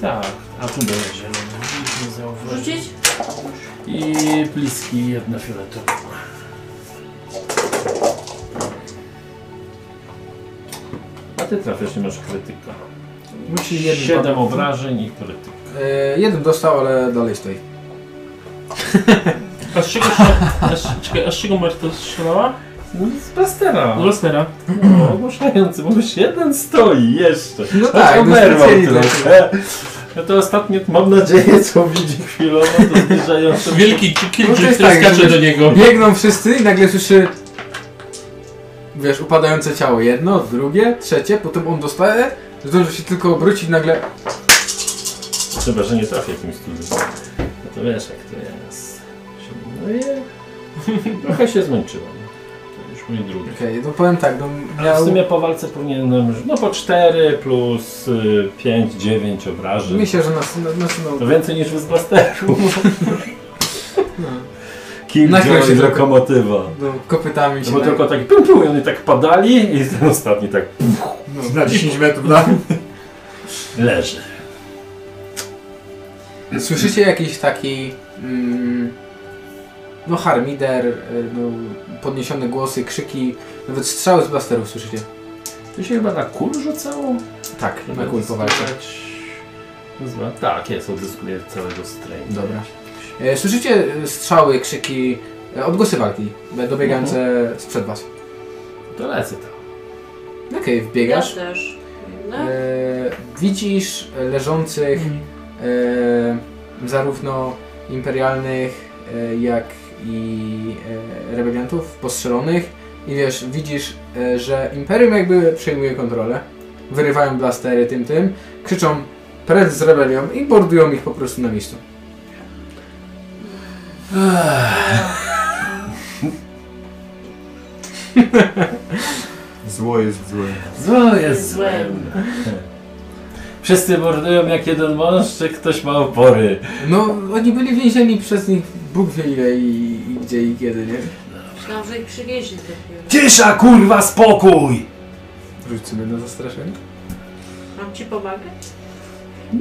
Speaker 2: Tak, a tu będzie zielone. Nic nie zauważyłem.
Speaker 5: Rzucić?
Speaker 2: I bliski jedna fioletowa. A ty trafiasz, nie masz krytyka.
Speaker 1: Musi jeden
Speaker 2: Siedem
Speaker 1: padł.
Speaker 2: obrażeń i krytyk.
Speaker 1: E, jeden dostał, ale dalej stoi.
Speaker 4: A z czego, się- a z, czekaj, a z czego Marta strzelała?
Speaker 2: No z blastera.
Speaker 4: Z Lestera.
Speaker 2: No, ogłuszający, bo już jeden stoi jeszcze.
Speaker 1: No
Speaker 2: Choć
Speaker 1: tak, no
Speaker 2: oberwał
Speaker 1: specjalnie
Speaker 2: trochę. No to ostatnie, mam nadzieję, co widzi chwilowo, to zbliżające
Speaker 4: Wielki kilku,
Speaker 1: No to
Speaker 4: który
Speaker 1: jest tak,
Speaker 4: skacze
Speaker 1: jakby-
Speaker 4: do niego.
Speaker 1: Biegną wszyscy i nagle słyszy wiesz, upadające ciało. Jedno, drugie, trzecie, potem on dostaje, zdąży się tylko obrócić nagle
Speaker 2: Chyba, że nie trafię jakimś cudem. No to wiesz, jak to jest. No i (laughs) trochę się zmęczyłem. To już mój drugi.
Speaker 1: Okej, no powiem tak, no
Speaker 2: Ale
Speaker 1: miał,
Speaker 2: w sumie po walce powinienem, no po 4 plus 5, 9 obrażeń.
Speaker 1: myślę, że nas, nas, nas
Speaker 2: To
Speaker 1: no,
Speaker 2: więcej niż w blasteru.
Speaker 1: no, Nachyl
Speaker 2: Killjoy,
Speaker 1: się tylko.
Speaker 2: lokomotywa.
Speaker 1: no, kopytami
Speaker 2: No
Speaker 1: się
Speaker 2: bo
Speaker 1: na-
Speaker 2: tylko tak pum, pum, i oni tak padali i (laughs) ten ostatni tak
Speaker 1: no.
Speaker 3: Na 10 metrów, na
Speaker 2: leży.
Speaker 1: Słyszycie jakiś taki mm, no harmider, y, no, podniesione głosy, krzyki, nawet strzały z blasterów słyszycie.
Speaker 2: To się chyba na kul rzucało?
Speaker 1: Tak, na
Speaker 2: Żeby
Speaker 1: kul po walce.
Speaker 2: zyskiwać- Zna- Tak, jest, odzyskuje całego strain.
Speaker 1: Dobra. E, Słyszycie e, strzały, krzyki, e, odgłosy walki e, dobiegające sprzed was.
Speaker 2: To lecę tam.
Speaker 1: Okej, wbiegasz.
Speaker 5: Ja też. No,
Speaker 1: E,
Speaker 5: Biegnę.
Speaker 1: widzisz leżących
Speaker 4: Mm.
Speaker 1: e, zarówno imperialnych, e, jak i e, rebeliantów postrzelonych. I wiesz, widzisz, e, że Imperium jakby przejmuje kontrolę. Wyrywają blastery tym, tym. Krzyczą precz z rebelią i bordują ich po prostu na miejscu.
Speaker 3: Zło jest złe.
Speaker 2: Zło jest
Speaker 5: Złem.
Speaker 2: złem. (laughs) Wszyscy mordują jak jeden mąż, czy ktoś ma opory.
Speaker 1: No, oni byli więzieni przez nich Bóg wie ile i, i gdzie i kiedy, nie?
Speaker 5: Myślałam, że ich przywieźli dopiero.
Speaker 2: Cisza, kurwa, spokój!
Speaker 1: Rzuć sobie na zastraszenie.
Speaker 5: Mam ci pomagać?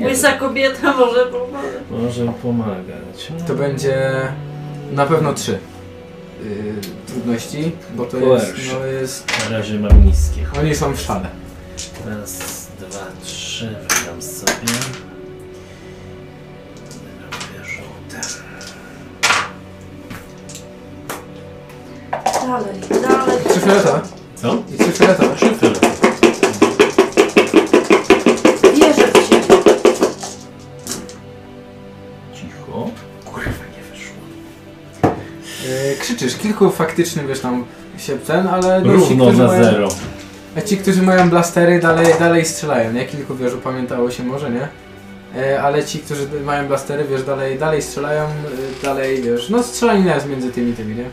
Speaker 5: Łysa kobieta może pomaga.
Speaker 2: Może pomagać.
Speaker 1: To będzie na pewno trzy yy, trudności, bo to jest,
Speaker 2: Pierwszy.
Speaker 1: no jest...
Speaker 2: Na razie mam niskie.
Speaker 1: Oni są w szale.
Speaker 2: Raz, dwa, trzy, wydam sobie. Robię żółte.
Speaker 5: Dalej, dalej.
Speaker 1: Trzy fioleta
Speaker 2: Co?
Speaker 1: i trzy fioleta.
Speaker 2: Trzy tyle.
Speaker 5: Wierzę w siebie.
Speaker 2: Cicho. Kurwa, nie wyszło.
Speaker 1: Yy, krzyczysz, kilku faktycznych wiesz tam się ten, ale no,
Speaker 2: Równo na
Speaker 1: mają,
Speaker 2: zero.
Speaker 1: a ci, którzy mają blastery dalej, dalej strzelają, nie? Kilku wiesz, upamiętało się może, nie? Yy, ale ci, którzy d- mają blastery, wiesz, dalej, dalej strzelają, yy, dalej, wiesz, no strzelanina jest między tymi, tymi, nie?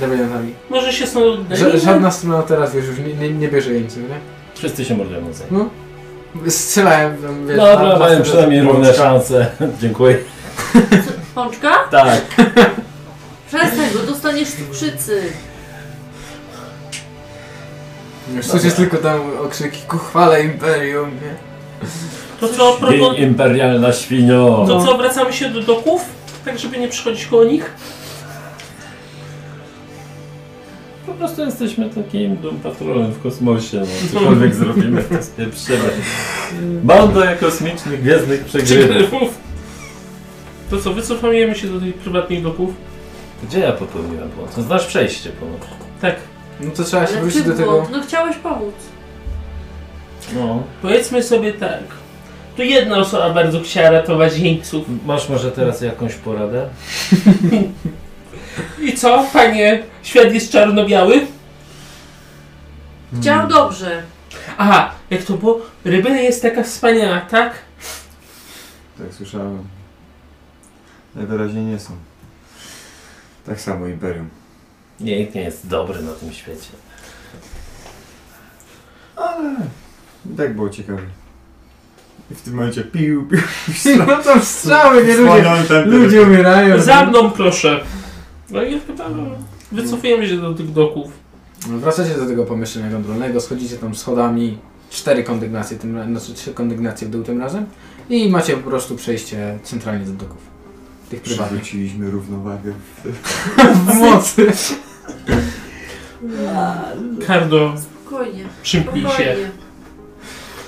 Speaker 1: Rebeliantami.
Speaker 4: Może się stąd
Speaker 5: No
Speaker 4: oddalimy?
Speaker 1: Ża- żadna strona teraz wiesz, już nie, nie, nie bierze jeńców, nie?
Speaker 2: Wszyscy się mordują na zero.
Speaker 1: No. Strzelałem, tam, wiesz, na-
Speaker 2: No, Dobra,
Speaker 1: na
Speaker 2: mają
Speaker 1: stronę
Speaker 2: przynajmniej
Speaker 1: z-
Speaker 2: równe szanse. (laughs) Dziękuję.
Speaker 5: Pączka?
Speaker 2: Tak.
Speaker 5: Przestań, bo dostaniesz cukrzycy.
Speaker 1: Wiesz, Słyszysz tylko tam okrzyki, ku chwale imperium, nie?
Speaker 4: To co, propon...
Speaker 2: Dzień imperialna świnio.
Speaker 4: to co, wracamy się do doków? Tak, żeby nie przychodzić koło nich?
Speaker 2: prostu jesteśmy takim doom patrolem w kosmosie, no. (laughs) Cokolwiek zrobimy, to spieprzymy. (laughs) Banda kosmicznych, gwiezdnych przegrywek.
Speaker 4: Przygrywów. To co, wycofujemy się do tych prywatnych doków?
Speaker 2: Gdzie ja popełniłem błąd? To znasz przejście ponoć.
Speaker 4: Tak.
Speaker 1: No to trzeba się
Speaker 5: Ale ty
Speaker 1: wrócić do
Speaker 5: było,
Speaker 1: tego.
Speaker 5: no chciałeś pomóc.
Speaker 2: No.
Speaker 4: Powiedzmy sobie tak. Tu jedna osoba bardzo chciała ratować jeńców.
Speaker 2: Masz może teraz jakąś poradę?
Speaker 4: I co, panie? Świat jest czarno-biały?
Speaker 1: Mm.
Speaker 5: Chciał dobrze.
Speaker 4: Aha, jak to było? Rybena jest taka wspaniała, tak?
Speaker 3: Tak słyszałem. Najwyraźniej nie są. Tak samo Imperium.
Speaker 2: Nikt nie jest dobry na tym świecie.
Speaker 3: I tak było ciekawie. I w tym momencie pił, pił,
Speaker 1: (laughs) No to strzały, nie (laughs) ludzie.
Speaker 3: słonął ten
Speaker 1: Ludzie umierają.
Speaker 4: Za mną proszę. No i chyba no, wycofujemy się do tych doków.
Speaker 1: No, Wracacie do tego pomieszczenia kontrolnego, schodzicie tam schodami, cztery kondygnacje, tym, ra- znaczy trzy kondygnacje w dół tym razem i macie po prostu przejście centralnie do doków. Tych prywatnych.
Speaker 3: Przywróciliśmy równowagę.
Speaker 1: W mocy.
Speaker 4: Kardo,
Speaker 5: Spokojnie,
Speaker 4: przymknij się.
Speaker 5: spokojnie.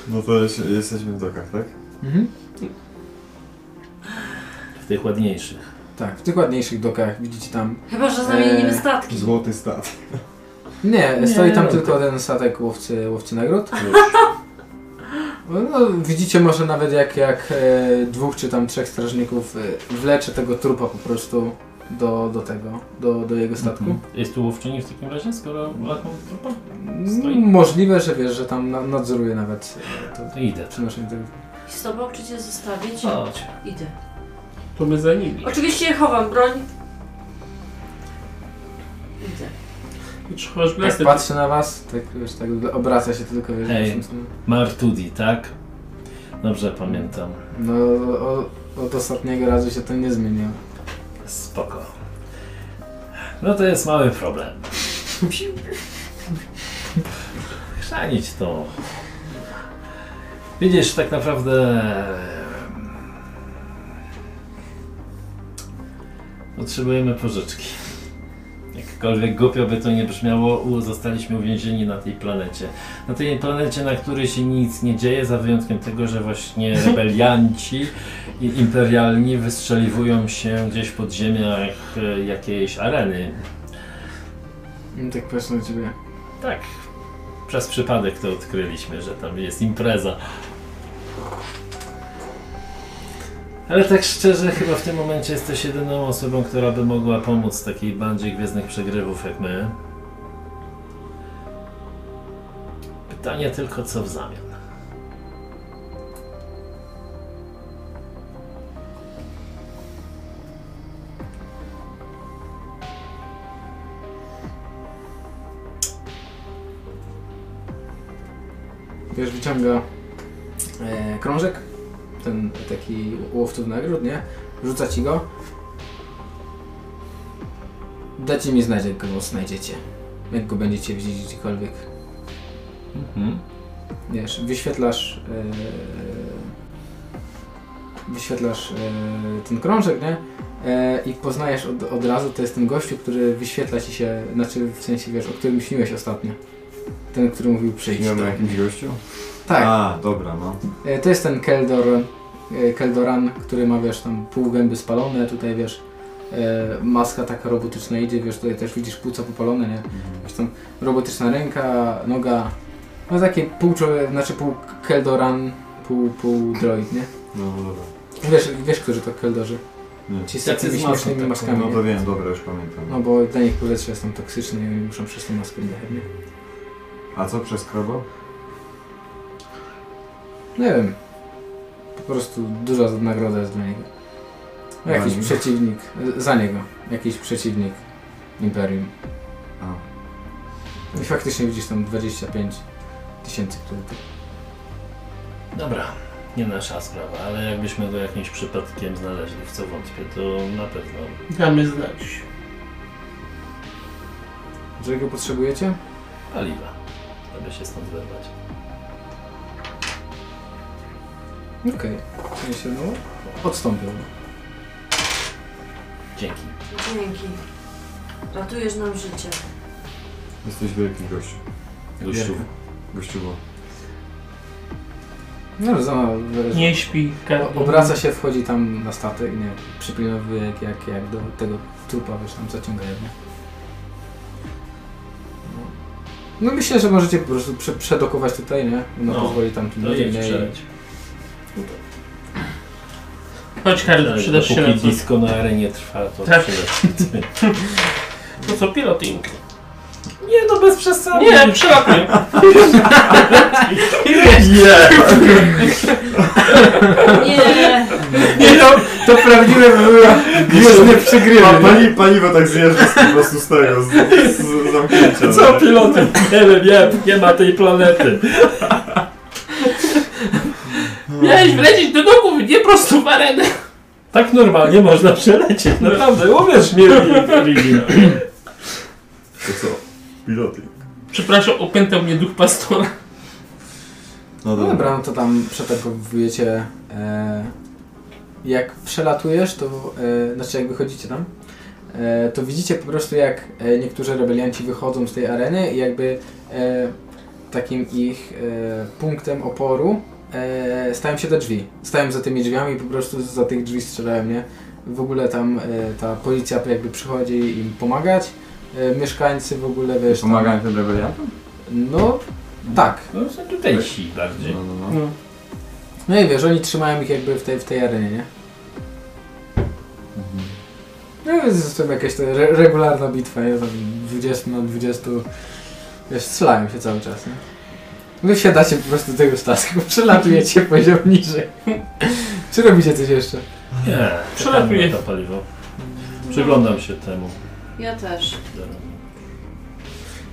Speaker 3: No to jest, jesteśmy w dokach, tak?
Speaker 1: Mhm.
Speaker 2: W tych ładniejszych.
Speaker 1: Tak, w tych ładniejszych dokach widzicie tam...
Speaker 5: Chyba, że zamienimy
Speaker 1: Eee,
Speaker 5: statki.
Speaker 3: Złoty stat.
Speaker 1: Nie, stoi tam
Speaker 2: no
Speaker 1: tylko ten statek łowcy, łowcy nagród. No, widzicie może nawet jak, jak e, dwóch czy tam trzech strażników e, wlecze tego trupa po prostu do, do tego, do, do jego statku.
Speaker 2: Jest tu łowczyni w takim razie, skoro latną trupa? Stoi.
Speaker 1: Możliwe, że wiesz, że tam na- nadzoruje nawet e, to
Speaker 2: To idę.
Speaker 1: przenoszenie tego.
Speaker 5: Z tobą czy cię zostawić?
Speaker 2: Chodź.
Speaker 5: Idę.
Speaker 4: To my za nimi.
Speaker 5: Oczywiście chowam broń. Idę.
Speaker 4: Chowasz
Speaker 1: Jak
Speaker 4: blaster.
Speaker 1: patrzy na was, tak wiesz, tak obraca się to tylko wiesz,
Speaker 2: Ej.
Speaker 1: w tym samym-
Speaker 2: Martudi, tak? Dobrze pamiętam.
Speaker 1: No o, od ostatniego razu się to nie zmieniło.
Speaker 2: Spoko. No to jest mały problem. Chrzanić to. Widzisz, tak naprawdę... Potrzebujemy pożyczki. Jakkolwiek głupio by to nie brzmiało, u- zostaliśmy uwięzieni na tej planecie. Na tej planecie, na której się nic nie dzieje, za wyjątkiem tego, że właśnie rebelianci i imperialni wystrzeliwują się gdzieś w podziemiach e, jakiejś areny.
Speaker 1: No, tak patrzę na ciebie.
Speaker 2: Tak, przez przypadek to odkryliśmy, że tam jest impreza. Ale tak szczerze, chyba w tym momencie jesteś jedyną osobą, która by mogła pomóc takiej bandzie gwiezdnych przegrywów jak my. Pytanie tylko, co w zamian?
Speaker 1: Wiesz, wyciąga e, krążek, ten taki łowców nagród, nie? Rzuca ci go. Dajcie mi znać, jak go znajdziecie. Jak go będziecie widzieć gdziekolwiek.
Speaker 2: Mhm.
Speaker 1: Wiesz, wyświetlasz. e, wyświetlasz e, ten krążek, nie? E, I poznajesz od, od razu, to jest ten gościu, który wyświetla ci się, znaczy w sensie wiesz, o którym śniłeś ostatnio. Ten, który mówił przyjdź.
Speaker 3: Śniłem o
Speaker 1: Tak.
Speaker 3: jakimś gościu?
Speaker 1: tak.
Speaker 3: A, dobra, no.
Speaker 1: E, To jest ten Keldor, e, Keldoran, który ma wiesz tam pół gęby spalone, tutaj wiesz e, maska taka robotyczna idzie, wiesz tutaj też widzisz płuca popalone, nie? Wiesz, tam robotyczna ręka, noga, no takie pół człowiek, znaczy pół Keldoran, pół, pół droid, nie?
Speaker 3: No dobra.
Speaker 1: Wiesz, wiesz, którzy to Keldorzy.
Speaker 3: Nie.
Speaker 1: Ci z
Speaker 2: Tacy
Speaker 1: takimi
Speaker 2: z maską
Speaker 1: śmiesznymi
Speaker 2: taką,
Speaker 1: maskami.
Speaker 3: No to
Speaker 1: nie?
Speaker 3: wiem, dobra, już pamiętam.
Speaker 1: No bo dla nich powietrze jest tam toksyczne i oni muszą przez tą maskę dechać, nie?
Speaker 3: A co przez krobo?
Speaker 1: Nie No wiem. Po prostu duża nagroda jest dla niego. No, Jakiś
Speaker 3: Dla niego.
Speaker 1: przeciwnik. e, Za niego. Jakiś przeciwnik Imperium.
Speaker 3: A.
Speaker 1: I faktycznie widzisz tam 25 tysięcy kredytów.
Speaker 2: Dobra, nie nasza sprawa, ale jakbyśmy go jakimś przypadkiem znaleźli, w co wątpię, to na pewno
Speaker 4: Damy znać.
Speaker 1: Jeżeli go potrzebujecie?
Speaker 2: paliwa, żeby się stąd wyrwać.
Speaker 1: Okej. W sensie, no, odstąpił.
Speaker 2: Dzięki.
Speaker 1: (laughs)
Speaker 5: Dzięki. Ratujesz nam życie.
Speaker 3: Jesteś wielki gościu.
Speaker 2: Gościu.
Speaker 3: Gościuwo.
Speaker 1: No, za,
Speaker 4: Nie śpi,
Speaker 1: O-
Speaker 4: Karol.
Speaker 1: Obraca się, wchodzi tam na statek, nie, przypilnowuje jak, jak, jak do tego trupa, wiesz, tam zaciąga jedno. No myślę, że możecie po prostu prze, przedokować tutaj, nie? No,
Speaker 2: No,
Speaker 1: pozwoli tam tym
Speaker 2: No nie
Speaker 1: ludziom,
Speaker 2: wiem,
Speaker 1: nie?
Speaker 2: strzelać.
Speaker 4: Chodź Karol, przydasz się na
Speaker 2: Póki
Speaker 4: coś.
Speaker 2: disco na arenie trwa, to
Speaker 4: Tak.
Speaker 2: przydasz.
Speaker 4: To No co, piloting?
Speaker 2: Nie no, bez przesady.
Speaker 1: (laughs)
Speaker 4: Nie, przelatuj.
Speaker 5: Nie,
Speaker 1: Nie, no, to prawdziwe były gwiezdne
Speaker 3: Pa,
Speaker 1: (laughs) przegrywy.
Speaker 3: pali, paliwo tak zjeżdża z- po prostu z tego, z, z zamknięcia. no.
Speaker 2: Co pilotem? Nie wiem, nie, nie ma tej planety.
Speaker 4: Miałeś wlecieć do domu, nie prosto w arenę.
Speaker 2: Tak normalnie można przelecieć,
Speaker 1: No,
Speaker 2: naprawdę, uwierz mi, Lili.
Speaker 3: To co? Piloty.
Speaker 4: Przepraszam, opętał mnie duch pastora.
Speaker 3: No
Speaker 1: No
Speaker 3: dobra.
Speaker 1: dobra, no to tam przetargowujecie. E, jak przelatujesz, to e, znaczy jak wychodzicie tam, e, to widzicie po prostu jak e, niektórzy rebelianci wychodzą z tej areny i jakby e, takim ich e, punktem oporu e, stają się te drzwi. Stają za tymi drzwiami i po prostu za tych drzwi strzelają, nie? W ogóle tam e, ta policja jakby przychodzi im pomagać. E, mieszkańcy w ogóle, wiesz, tam-
Speaker 3: Pomagają tym rebeliantom?
Speaker 1: No, tak.
Speaker 2: No są tutaj ci bardziej.
Speaker 3: No, no, no.
Speaker 1: No. No i wiesz, oni trzymają ich jakby w tej, w tej arenie, nie?
Speaker 3: Mhm.
Speaker 1: No więc zresztą jakaś to re regularna bitwa, nie? Tam 20 na 20, wiesz, strzelają się cały czas, nie? Wy wsiadacie po prostu do tego statku, (laughs) przelatujecie poziom niżej. (laughs) Czy robicie coś jeszcze?
Speaker 2: Nie,
Speaker 4: Przelatuje.
Speaker 2: przelatuje to paliwo. Przyglądam się temu.
Speaker 5: ja też.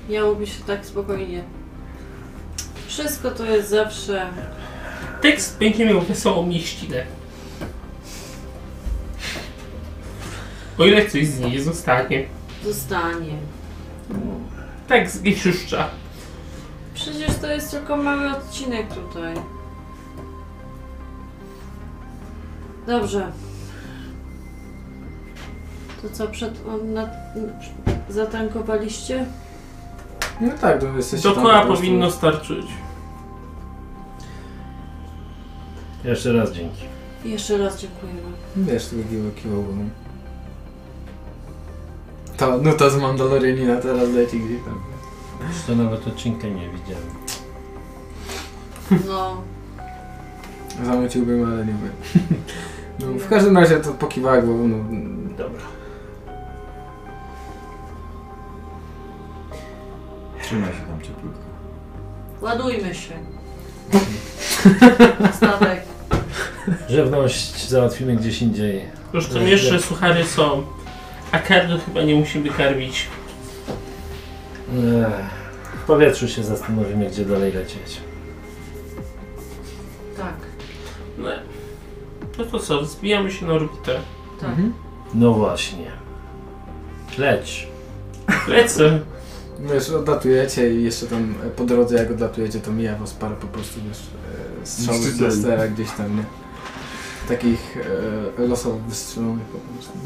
Speaker 5: Miałoby się tak spokojnie. Wszystko to jest zawsze...
Speaker 4: Tekst będzie miał wesołą mieścinę. O ile coś z niej zostanie.
Speaker 5: zostanie.
Speaker 4: Tak zgliczyszcza.
Speaker 5: Przecież to jest tylko mały odcinek tutaj. Dobrze. To co, przed, on na, zatankowaliście?
Speaker 1: No tak, to jesteście
Speaker 4: Do
Speaker 1: tam
Speaker 4: koła
Speaker 1: po prostu-
Speaker 4: powinno starczyć.
Speaker 2: Jeszcze raz dzięki.
Speaker 5: Jeszcze raz dziękujemy.
Speaker 1: Wiesz, tego kiwa, kiwa głową. To, no to z Mandalorianina teraz leci gdzieś tam.
Speaker 2: Już to nawet odcinka nie widziałem.
Speaker 5: No,
Speaker 1: Zamuciłbym, ale nie wiem. (laughs) No, w każdym razie to pokiwała głową, no...
Speaker 2: Dobra.
Speaker 3: Trzymaj się tam cieplutko.
Speaker 5: ładujmy się. Statek.
Speaker 2: Żywność załatwimy gdzieś indziej.
Speaker 4: Zresztą jeszcze suchary są. A kardu chyba nie musimy karmić.
Speaker 2: Ech, W powietrzu się zastanowimy, gdzie dalej lecieć.
Speaker 5: Tak,
Speaker 4: No. No to co, wzbijamy się na orbitę.
Speaker 5: tak.
Speaker 1: Mhm.
Speaker 2: No właśnie. Leć.
Speaker 4: Lecę.
Speaker 1: Wiesz, odlatujecie i jeszcze tam e, po drodze jak odlatujecie, to mija was parę po prostu, wiesz, e, strzałów z
Speaker 3: Szczytelni.
Speaker 1: lastera gdzieś tam, nie? Takich e, losowo wystrzelonych po prostu.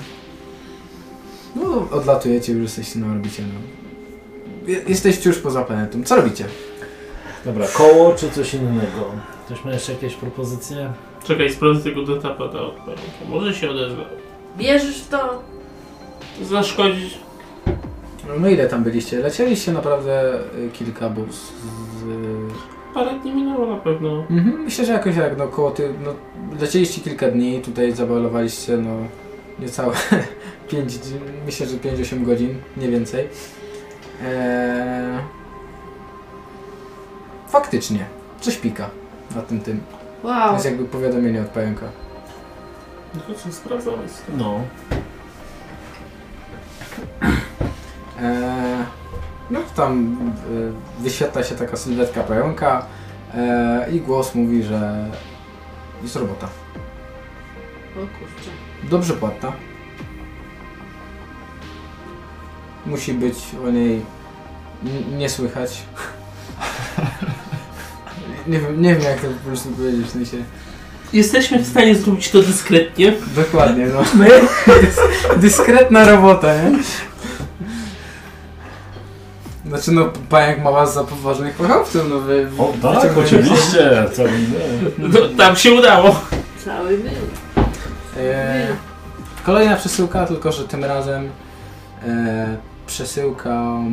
Speaker 1: No, odlatujecie, już jesteście na orbicie, no. Je- Jesteście już poza planetą. Co robicie?
Speaker 2: Dobra, koło czy coś innego? Ktoś ma jeszcze jakieś propozycje?
Speaker 4: Czekaj, sprawdzę tego dotapa na odpalę. Może się odezwa.
Speaker 5: Wierzysz w to?
Speaker 4: Zaszkodzić
Speaker 1: No ile tam byliście? Lecieliście naprawdę e, kilka, bo z, z,
Speaker 4: Parę dni minęło na pewno.
Speaker 1: Mhm, myślę, że jakoś jak, no koło ty, no lecieliście kilka dni, tutaj zabalowaliście, no niecałe (laughs) 5, myślę, że 5-8 godzin, nie więcej. Eee... Faktycznie, coś pika na tym tym. To
Speaker 5: Wow.
Speaker 1: jest jakby powiadomienie od pająka.
Speaker 4: No to co, sprawdzamy z tym.
Speaker 2: No.
Speaker 1: Eee, no tam e, wyświetla się taka sylwetka pająka eee, i głos mówi, że jest robota.
Speaker 5: O kurczę.
Speaker 1: Dobrze płatna. Musi być o niej n- nie słychać. (laughs) nie, wiem, nie wiem jak to po prostu powiedzieć, w sensie...
Speaker 4: Jesteśmy w stanie zrobić to dyskretnie.
Speaker 1: Dokładnie, no. Dys- Dyskretna robota, nie? Znaczy no, pająk ma was za poważnych fachowców, no wy...
Speaker 2: O, tak,
Speaker 1: wyciągnęli-
Speaker 2: oczywiście. To, nie.
Speaker 4: No, tam się udało.
Speaker 5: Cały był.
Speaker 1: E, Kolejna przesyłka, tylko że tym razem e, przesyłką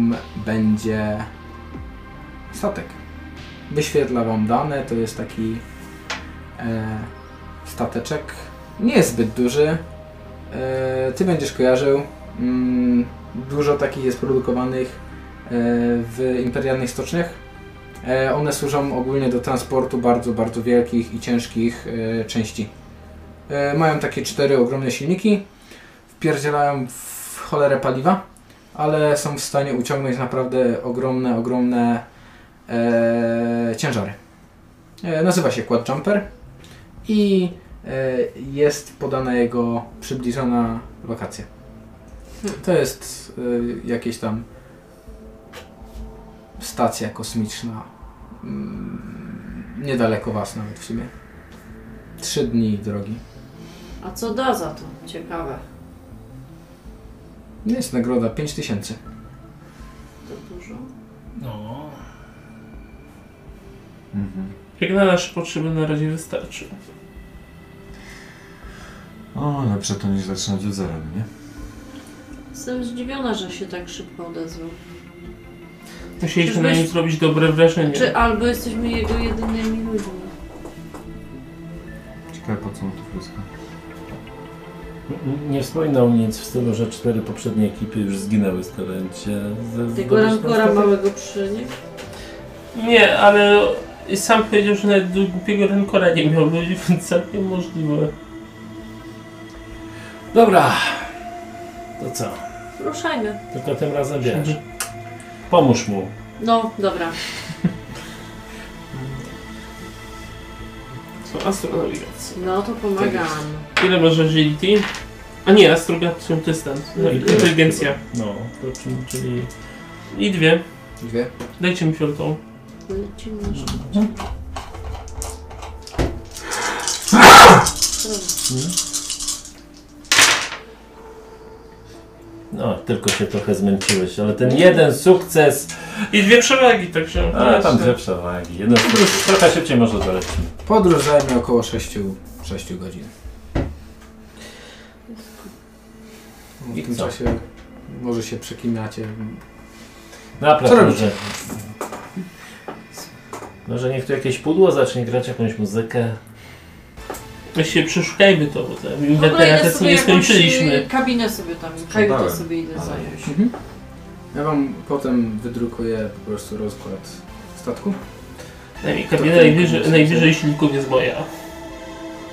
Speaker 1: będzie statek. Wyświetla wam dane, to jest taki e, stateczek. Nie jest zbyt duży. E, ty będziesz kojarzył. Mm, dużo takich jest produkowanych e, w imperialnych stoczniach. E, one służą ogólnie do transportu bardzo, bardzo wielkich i ciężkich e, części. E, mają takie cztery ogromne silniki, wpierdzielają w cholerę paliwa, ale są w stanie uciągnąć naprawdę ogromne, ogromne e, ciężary. E, nazywa się Quad Jumper i e, jest podana jego przybliżona lokacja. To jest e, jakieś tam stacja kosmiczna, mm, niedaleko Was nawet w sumie. Trzy dni drogi.
Speaker 5: A co da za to? Ciekawe.
Speaker 1: Jest nagroda 5000.
Speaker 5: To dużo.
Speaker 2: No.
Speaker 3: Mhm.
Speaker 4: Jak na nasze potrzeby na razie wystarczy.
Speaker 3: O, lepsze to niż zaczynać od zera, no nie?
Speaker 5: Jestem zdziwiona, że się tak szybko odezwał.
Speaker 4: Musieliśmy
Speaker 5: Czyż
Speaker 4: na nim
Speaker 5: byś-
Speaker 4: zrobić dobre wrażenie.
Speaker 5: Czy albo jesteśmy jego jedynymi ludźmi?
Speaker 3: Ciekawe po co mu to wszystko.
Speaker 2: N- Nie wspominał nic w stylu, że cztery poprzednie ekipy już zginęły, skoro cię ze-
Speaker 5: Tego
Speaker 2: zdobyć na
Speaker 5: rankora
Speaker 2: statek?
Speaker 5: małego przynieść?
Speaker 4: Nie, ale sam powiedział, że nawet do głupiego rankora nie miał ludzi, (laughs) więc całkiem możliwe.
Speaker 2: Dobra. To co?
Speaker 5: Ruszajmy.
Speaker 2: Tylko tym razem wiesz. Pomóż mu.
Speaker 5: No, dobra.
Speaker 4: Są astronawigacje.
Speaker 5: No to pomagam.
Speaker 4: Ile masz agility? A nie, astrogapcją dystans.
Speaker 2: No i tyle
Speaker 4: Inteligencja.
Speaker 2: No, to czyli, czyli
Speaker 4: I dwie.
Speaker 1: Dwie.
Speaker 4: Dajcie mi piątą.
Speaker 5: Lecimy na szybko.
Speaker 2: no, tylko się trochę zmęczyłeś, ale ten jeden sukces.
Speaker 4: I dwie przewagi, także.
Speaker 2: A No, tam
Speaker 4: Właśnie.
Speaker 2: dwie przewagi. Jeden sukces. Trochę szybciej może dolecimy.
Speaker 1: Podróż zajmie około 6, 6 godzin. W
Speaker 2: I
Speaker 1: tym
Speaker 2: co?
Speaker 1: czasie może się przekinacie. Co
Speaker 2: Naprawdę,
Speaker 1: robicie?
Speaker 2: może. Może niech tu jakieś pudło zacznie grać jakąś muzykę.
Speaker 4: Właściwie przeszukajmy to, bo tam
Speaker 5: W ogóle idę
Speaker 4: inwentariaty
Speaker 5: sobie
Speaker 4: nie
Speaker 5: jakąś
Speaker 4: skończyliśmy.
Speaker 5: y, kabinę sobie tam, kajutę
Speaker 3: Dałem,
Speaker 5: sobie idę
Speaker 3: ale-
Speaker 5: zająć.
Speaker 2: Mhm.
Speaker 1: Ja wam potem wydrukuję po prostu rozkład statku.
Speaker 4: Najmniej
Speaker 1: To
Speaker 4: kabina
Speaker 1: tylko
Speaker 4: najwyżej,
Speaker 1: muzyka.
Speaker 4: najwyżej silników jest moja.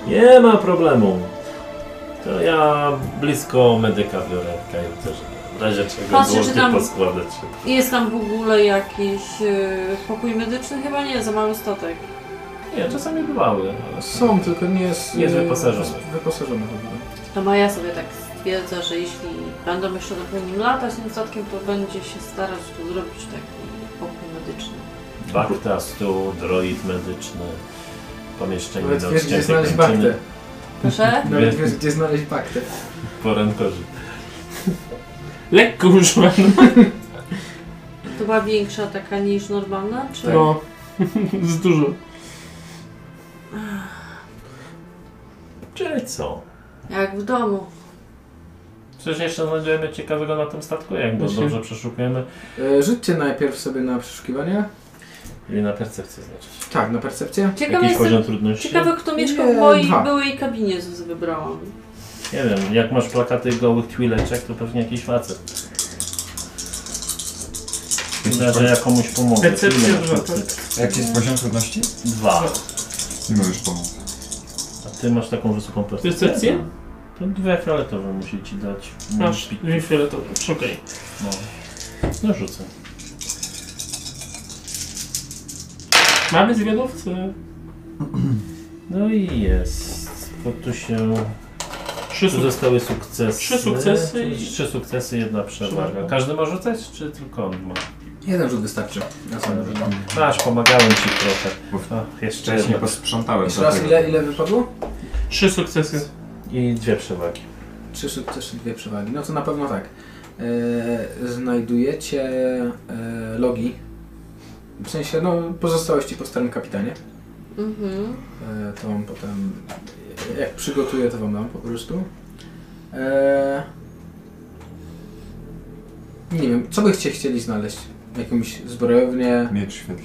Speaker 2: Nie ma problemu. To ja blisko medyka biorę w kajucie, żeby w razie czego
Speaker 5: Patrzę, czy
Speaker 2: złoty
Speaker 5: tam-
Speaker 2: poskładać.
Speaker 5: I Jest tam w ogóle jakiś y, pokój medyczny? Chyba nie, za mały statek.
Speaker 2: Nie, czasami bywały. ale-
Speaker 1: Są, tylko nie jest...
Speaker 2: Mhm. Jest
Speaker 1: e,
Speaker 2: wyposażony.
Speaker 1: Wyposażony w ogóle.
Speaker 5: To Maja sobie tak stwierdza, że jeśli będą jeszcze na nim latać tym statkiem, to będzie się starać tu zrobić taki pokój medyczny.
Speaker 2: Bakta, stół, droid medyczny, pomieszczenie
Speaker 1: Nawet
Speaker 2: do
Speaker 1: wiesz, gdzie
Speaker 2: odciętej
Speaker 1: znaleźć
Speaker 2: kończyny
Speaker 1: baktę.
Speaker 5: Proszę?
Speaker 1: Nawet wiesz, gdzie znaleźć baktę.
Speaker 2: po rękorzy.
Speaker 4: Lekko używana.
Speaker 2: Tak.
Speaker 5: To była większa taka niż normalna? Czy...
Speaker 4: No. (laughs) Z dużo.
Speaker 2: Czyli co?
Speaker 5: Jak w domu.
Speaker 2: Przecież jeszcze znajdziemy ciekawego na tym statku, jak go
Speaker 4: Właśnie.
Speaker 2: dobrze przeszukujemy.
Speaker 1: E, Rzućcie najpierw sobie na przeszukiwanie.
Speaker 2: Czyli na percepcję znaczy.
Speaker 1: Tak, na percepcję.
Speaker 5: Ciekawe
Speaker 2: Jakiś
Speaker 5: jestem,
Speaker 2: poziom trudności?
Speaker 5: ciekawe kto mieszkał
Speaker 1: Nie,
Speaker 5: w mojej
Speaker 1: dwa.
Speaker 5: byłej kabinie, co wybrałam.
Speaker 2: Nie wiem, jak masz plakaty gołych twileczek, to pewnie jakiś facet. Chyba, że ja komuś pomogę.
Speaker 4: Percepcja tak?
Speaker 2: Ile masz
Speaker 4: dwa,
Speaker 2: percepcji?
Speaker 3: Jaki jest poziom trudności?
Speaker 2: Dwa.
Speaker 3: Nie możesz pomóc.
Speaker 2: A ty masz taką wysoką percepcję?
Speaker 4: Percepcję?
Speaker 2: To dwie fioletowe musi ci dać.
Speaker 4: Masz
Speaker 2: Pi-
Speaker 4: dwie fioletowe. Szukaj.
Speaker 2: No. no rzucę.
Speaker 4: Mamy zwiadowcę.
Speaker 2: No i jest. Bo tu się.
Speaker 4: Trzy
Speaker 2: Tu
Speaker 4: sukcesy.
Speaker 2: zostały sukcesy.
Speaker 4: Trzy sukcesy i-
Speaker 2: Trzy sukcesy, jedna przewaga.
Speaker 4: Przewaga.
Speaker 2: Każdy ma rzucać, czy tylko on ma?
Speaker 1: Jeden rzut wystarczy. Na sam rzut.
Speaker 2: Masz, pomagałem ci trochę.
Speaker 3: Bo
Speaker 2: O, jeszcze
Speaker 3: wcześniej
Speaker 2: jedna.
Speaker 3: posprzątałem.
Speaker 1: Jeszcze
Speaker 2: Tak.
Speaker 1: raz,
Speaker 3: dlatego.
Speaker 1: ile, ile wypadło?
Speaker 4: Trzy sukcesy. (laughs)
Speaker 2: I dwie przewagi.
Speaker 1: Trzy sukcesy, dwie przewagi. No to na pewno tak. e, znajdujecie e, logi, w sensie no, pozostałości po starym kapitanie.
Speaker 5: Mhm.
Speaker 1: E, to wam potem, jak przygotuję, to wam dam po prostu. E, nie wiem, co byście chcieli znaleźć? Jakąś
Speaker 3: (laughs)
Speaker 1: zbrojownię?
Speaker 3: Miecz świetny.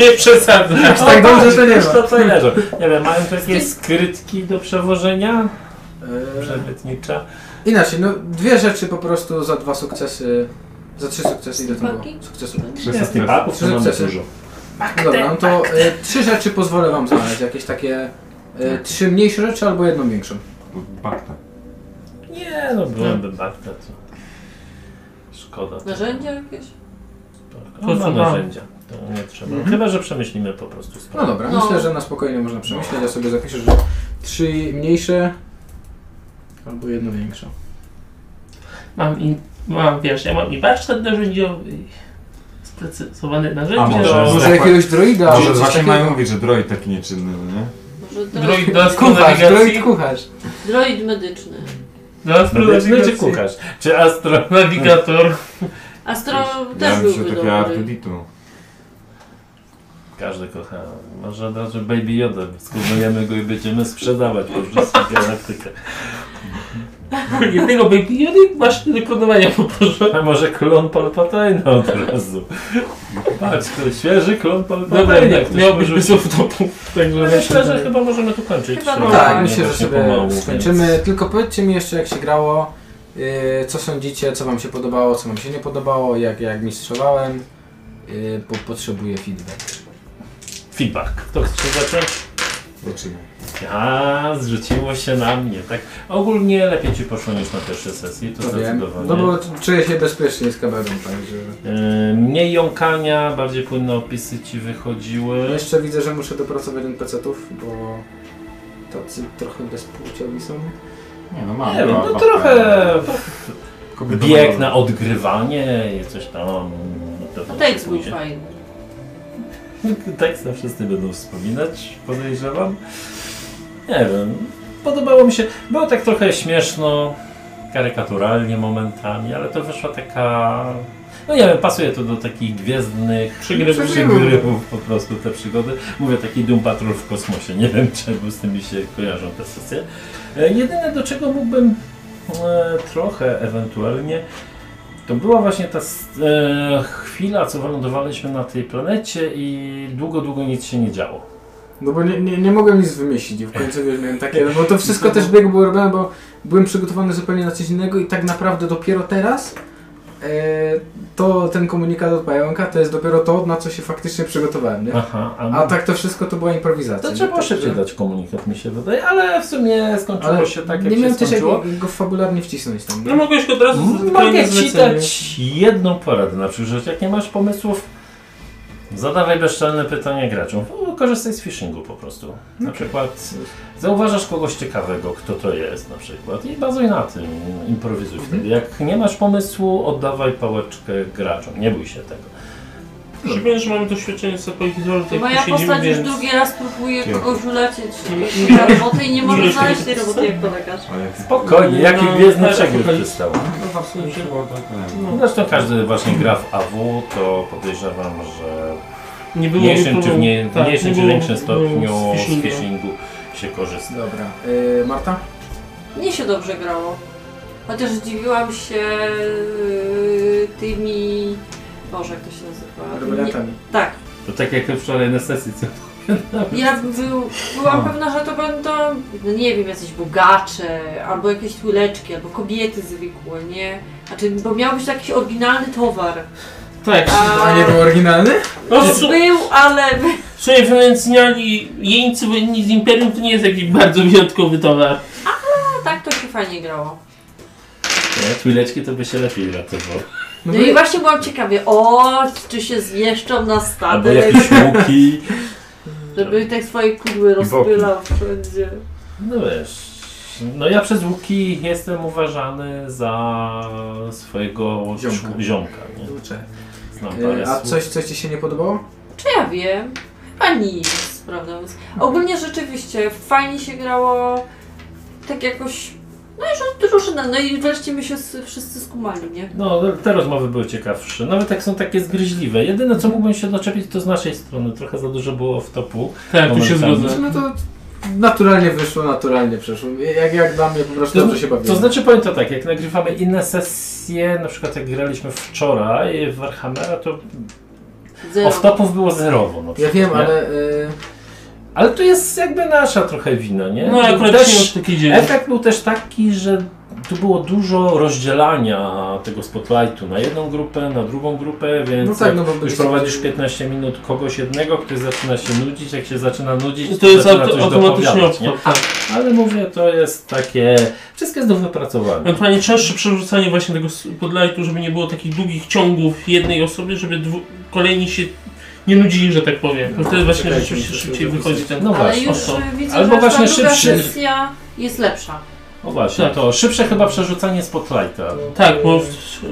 Speaker 2: Nie przesadzam.
Speaker 1: Aż tak dobrze to nie ma.
Speaker 2: To co leżą. Nie wiem, mają takie skrytki do przewożenia
Speaker 1: E,
Speaker 2: przebytnicza.
Speaker 1: Inaczej, no dwie rzeczy po prostu za dwa sukcesy, za trzy sukcesy, ile to było?
Speaker 5: Paki?
Speaker 1: Sukcesów.
Speaker 3: Trzy
Speaker 2: Nie, z tych
Speaker 3: sukcesy.
Speaker 2: paków to mamy
Speaker 1: Sukcesy.
Speaker 2: dużo.
Speaker 1: No Dobra, no to e, trzy rzeczy pozwolę wam znaleźć, jakieś takie e, trzy mniejsze rzeczy albo jedną większą.
Speaker 3: Bakta.
Speaker 2: Nie no, byłaby bakta to. Szkoda. to
Speaker 5: Narzędzia jakieś?
Speaker 2: spoko.
Speaker 4: To
Speaker 2: No,
Speaker 4: co
Speaker 2: ma
Speaker 4: mam?
Speaker 2: narzędzia. To nie trzeba.
Speaker 1: Mhm.
Speaker 2: Chyba, że przemyślimy po prostu
Speaker 1: No
Speaker 2: sprawę.
Speaker 1: dobra,
Speaker 5: No.
Speaker 1: myślę, że na spokojnie można przemyśleć, ja sobie zapiszę, że trzy mniejsze albo jedno większe.
Speaker 4: Mam i... Mam, wiesz, ja mam i warsztat narzędziowy, i sprecyzowane narzędzia.
Speaker 3: A może-
Speaker 2: To-
Speaker 1: Może
Speaker 3: tak
Speaker 1: jakiegoś droida,
Speaker 3: Może
Speaker 1: albo coś
Speaker 3: właśnie
Speaker 1: takiego.
Speaker 3: mają mówić, że droid taki nieczynny, no nie?
Speaker 5: Może droid,
Speaker 4: Droid do
Speaker 1: Kucharz, droid
Speaker 4: astronawigacji.
Speaker 1: kucharz.
Speaker 5: droid medyczny.
Speaker 2: Medyczny
Speaker 4: Do
Speaker 2: czy
Speaker 4: astronawigacji.
Speaker 2: kucharz? Czy astronawigator?
Speaker 5: Astro
Speaker 3: Ja
Speaker 5: No też
Speaker 3: bym się
Speaker 5: byłby
Speaker 3: takiego
Speaker 5: dobry.
Speaker 3: Artuditu.
Speaker 2: Każdy kocha. Może od razu Baby Yoda. Skubujemy go i będziemy sprzedawać po wszystkich galaktykach.
Speaker 4: (laughs) Jednego baby Jody masz do wykonywania po prostu.
Speaker 2: A może klon Palpatina od razu? Patrz, to świeży klon
Speaker 4: Dobra,
Speaker 2: Palpatina.
Speaker 4: nie,
Speaker 2: No, tak, Ktoś
Speaker 4: miałbyś
Speaker 2: może-
Speaker 4: wysłów w topu. Także
Speaker 2: No, Myślę, że chyba możemy tu kończyć.
Speaker 5: Chyba
Speaker 3: No
Speaker 2: Trzeba
Speaker 5: tak.
Speaker 1: Tak,
Speaker 2: nie
Speaker 1: myślę, że
Speaker 2: właśnie
Speaker 1: sobie
Speaker 2: pomału, więc-
Speaker 1: skończymy. Tylko powiedzcie mi jeszcze, jak się grało, yy, co sądzicie, co wam się podobało, co wam się nie podobało, jak, jak mistrzowałem, yy, bo potrzebuję feedback.
Speaker 2: Feedback. Kto chce zacząć?
Speaker 3: Zaczynaj.
Speaker 2: A, zrzuciło się na mnie, tak? Ogólnie lepiej ci poszło niż na pierwszej sesji, to
Speaker 1: To wiem.
Speaker 2: zdecydowanie.
Speaker 1: No bo czuję się bezpiecznie z kabelą, także...
Speaker 2: Yy, Mniej jąkania, bardziej płynne opisy ci wychodziły.
Speaker 1: Jeszcze widzę, że muszę dopracować NPC-ów, bo tacy trochę bezpłciowi są.
Speaker 3: Nie no, mam.
Speaker 2: Nie wiem,
Speaker 3: mam
Speaker 2: no
Speaker 3: babkę.
Speaker 2: trochę
Speaker 3: Kobieta
Speaker 2: bieg
Speaker 3: ma-
Speaker 2: na odgrywanie i coś tam. na
Speaker 5: A
Speaker 2: pewno się
Speaker 5: tekst był
Speaker 2: pójdzie.
Speaker 5: fajny.
Speaker 2: (laughs) Tekst na wszyscy będą wspominać, podejrzewam. Nie wiem, podobało mi się. Było tak trochę śmieszno, karykaturalnie momentami, ale to wyszła taka. No nie wiem, pasuje to do takich gwiezdnych
Speaker 4: Przygrywów.
Speaker 2: przygrywów po prostu te przygody. Mówię taki Doom Patrol w kosmosie. Nie wiem czemu z tymi się kojarzą te sesje. E, Jedyne do czego mógłbym e, trochę ewentualnie to była właśnie ta s- e, chwila, co wylądowaliśmy na tej planecie i długo, długo nic się nie działo.
Speaker 1: No bo nie, nie, nie mogłem nic wymyślić i w końcu wiesz, miałem takie, no bo to wszystko też bieg było robione, bo byłem przygotowany zupełnie na coś innego i tak naprawdę dopiero teraz e, to ten komunikat od pająka to jest dopiero to, na co się faktycznie przygotowałem, nie?
Speaker 2: Aha,
Speaker 1: A tak to wszystko to była improwizacja.
Speaker 2: To
Speaker 1: nie?
Speaker 2: trzeba
Speaker 1: Także-
Speaker 2: szybciej dać komunikat, mi się wydaje, ale w sumie skończyło
Speaker 1: Ale
Speaker 2: się tak, jak
Speaker 1: nie
Speaker 2: się
Speaker 1: miałem też jak
Speaker 2: skończyło.
Speaker 1: go fabularnie wcisnąć tam.
Speaker 4: No mogłeś go od razu z-
Speaker 2: Mm, Mogę ci
Speaker 4: zlecenie.
Speaker 2: dać jedną poradę na przykład, jak nie masz pomysłów, zadawaj bezczelne pytania graczom. No, Korzystaj z phishingu po prostu. Na przykład zauważasz kogoś ciekawego, kto to jest na przykład i bazuj na tym, improwizuj
Speaker 4: Mhm.
Speaker 2: wtedy. Jak nie masz pomysłu, oddawaj pałeczkę graczom, nie bój się tego.
Speaker 4: Przypomnę, że mamy doświadczenie z Apoidorem,
Speaker 5: To moja No postać już drugi raz próbuje
Speaker 3: Dziękuję.
Speaker 5: kogoś ulecieć
Speaker 4: Nie-
Speaker 5: na robotę i nie może
Speaker 4: Nie-
Speaker 5: znaleźć tej roboty jak polegasz.
Speaker 3: Ale
Speaker 2: Spokojnie, jaki
Speaker 4: No,
Speaker 2: gwiezdny
Speaker 4: tak,
Speaker 2: przegryw
Speaker 4: tak.
Speaker 2: przystało.
Speaker 3: No w sumie się było tak.
Speaker 4: No.
Speaker 2: Zresztą każdy właśnie gra w AW, to podejrzewam, że
Speaker 4: Nie
Speaker 2: w
Speaker 4: było
Speaker 2: mniejszym
Speaker 4: nikogo-
Speaker 2: czy, w nie,
Speaker 4: tak,
Speaker 2: mniejszym
Speaker 4: nie
Speaker 2: czy
Speaker 4: było-
Speaker 2: większym
Speaker 4: nie
Speaker 2: stopniu
Speaker 4: było z
Speaker 2: z
Speaker 4: phishingu.
Speaker 2: phishingu się korzysta.
Speaker 1: Dobra. E, Marta?
Speaker 5: Mnie się dobrze grało. Chociaż zdziwiłam się yy, tymi... Boże, jak to się nazywa? Nie-
Speaker 1: Rebeliantami.
Speaker 5: Tak.
Speaker 2: To tak jak wczoraj na sesji, co
Speaker 5: Ja był, byłam
Speaker 3: A.
Speaker 5: pewna, że to będą, no nie wiem, jacyś bogacze, albo jakieś tuleczki, albo kobiety zwykłe, nie? Znaczy, bo miał być jakiś oryginalny towar.
Speaker 4: Tak.
Speaker 5: A
Speaker 1: A nie był oryginalny?
Speaker 4: No, w su-
Speaker 5: był, ale... (laughs)
Speaker 4: w sumie finansjali jeńcy wojenni z Imperium to nie jest jakiś bardzo wyjątkowy towar.
Speaker 5: No tak to się fajnie grało.
Speaker 2: Twileczki to by się lepiej ratowało.
Speaker 5: No,
Speaker 1: bo-
Speaker 5: i właśnie byłam ciekawie, o, czy się zmieszczą na
Speaker 2: Albo
Speaker 5: statek,
Speaker 2: jakieś łuki.
Speaker 5: żeby te swoje kudły rozpylał wszędzie.
Speaker 2: No wiesz. No ja przez łuki jestem uważany za swojego
Speaker 1: Ziomka.
Speaker 2: szk- ziomka nie?
Speaker 1: Kurczę.
Speaker 2: Znam parę
Speaker 1: E, A
Speaker 2: słów.
Speaker 1: coś, coś ci się nie podobało?
Speaker 5: Czy ja wiem? Chyba nic, prawda? Więc ogólnie rzeczywiście fajnie się grało, tak jakoś To Proszę, no, no i wreszcie my się s- wszyscy skumali, nie?
Speaker 2: No, te rozmowy były ciekawsze. Nawet jak są takie zgryźliwe. Jedyne, co mógłbym się doczepić, to z naszej strony. Trochę za dużo było w topu.
Speaker 4: Tak, tu się
Speaker 2: Momentami.
Speaker 4: zgodzę.
Speaker 1: Znaczy, no to naturalnie wyszło, naturalnie przeszło. Jak, jak dla mnie po prostu dobrze się bawiłem.
Speaker 2: to znaczy powiem to tak, jak nagrywamy inne sesje, na przykład jak graliśmy wczoraj w Warhammera, to
Speaker 5: Zero.
Speaker 2: off-topów było zerowo. Na
Speaker 1: Ja
Speaker 2: przykład,
Speaker 1: wiem,
Speaker 2: nie?
Speaker 1: ale e,
Speaker 2: Ale to jest jakby nasza trochę wina, nie?
Speaker 4: No akurat
Speaker 2: Też-
Speaker 4: też taki dzień.
Speaker 2: Efekt był też taki, że tu było dużo rozdzielania tego spotlightu na jedną grupę, na drugą grupę, więc
Speaker 1: no tak, no bo
Speaker 2: już
Speaker 1: byliśmy-
Speaker 2: prowadzisz 15 minut kogoś jednego, który zaczyna się nudzić, jak się zaczyna nudzić,
Speaker 4: To jest
Speaker 2: zaczyna
Speaker 4: auto,
Speaker 2: coś
Speaker 4: automatycznie
Speaker 2: dopowiadać, nie?
Speaker 4: obchod. tak.
Speaker 2: Ale mówię, to jest takie, wszystko jest do wypracowania.
Speaker 4: Ewentualnie częstsze przerzucanie właśnie tego s- podlightu, żeby nie było takich długich ciągów jednej osoby, żeby dwu, kolejni się nie nudzili, że tak powiem. No, wtedy właśnie
Speaker 1: Czekajcie,
Speaker 4: rzeczywiście
Speaker 1: muszę
Speaker 4: szybciej
Speaker 1: zapisać.
Speaker 4: wychodzi ten...
Speaker 2: No
Speaker 5: Ale
Speaker 2: właśnie,
Speaker 5: już
Speaker 4: o to.
Speaker 5: y, widzę,
Speaker 2: Albo
Speaker 5: że
Speaker 2: właśnie
Speaker 5: ta druga
Speaker 2: szybszy.
Speaker 5: sesja jest lepsza.
Speaker 2: O właśnie,
Speaker 4: Tak.
Speaker 2: to szybsze chyba przerzucanie spotlighta.
Speaker 4: Tak, bo w,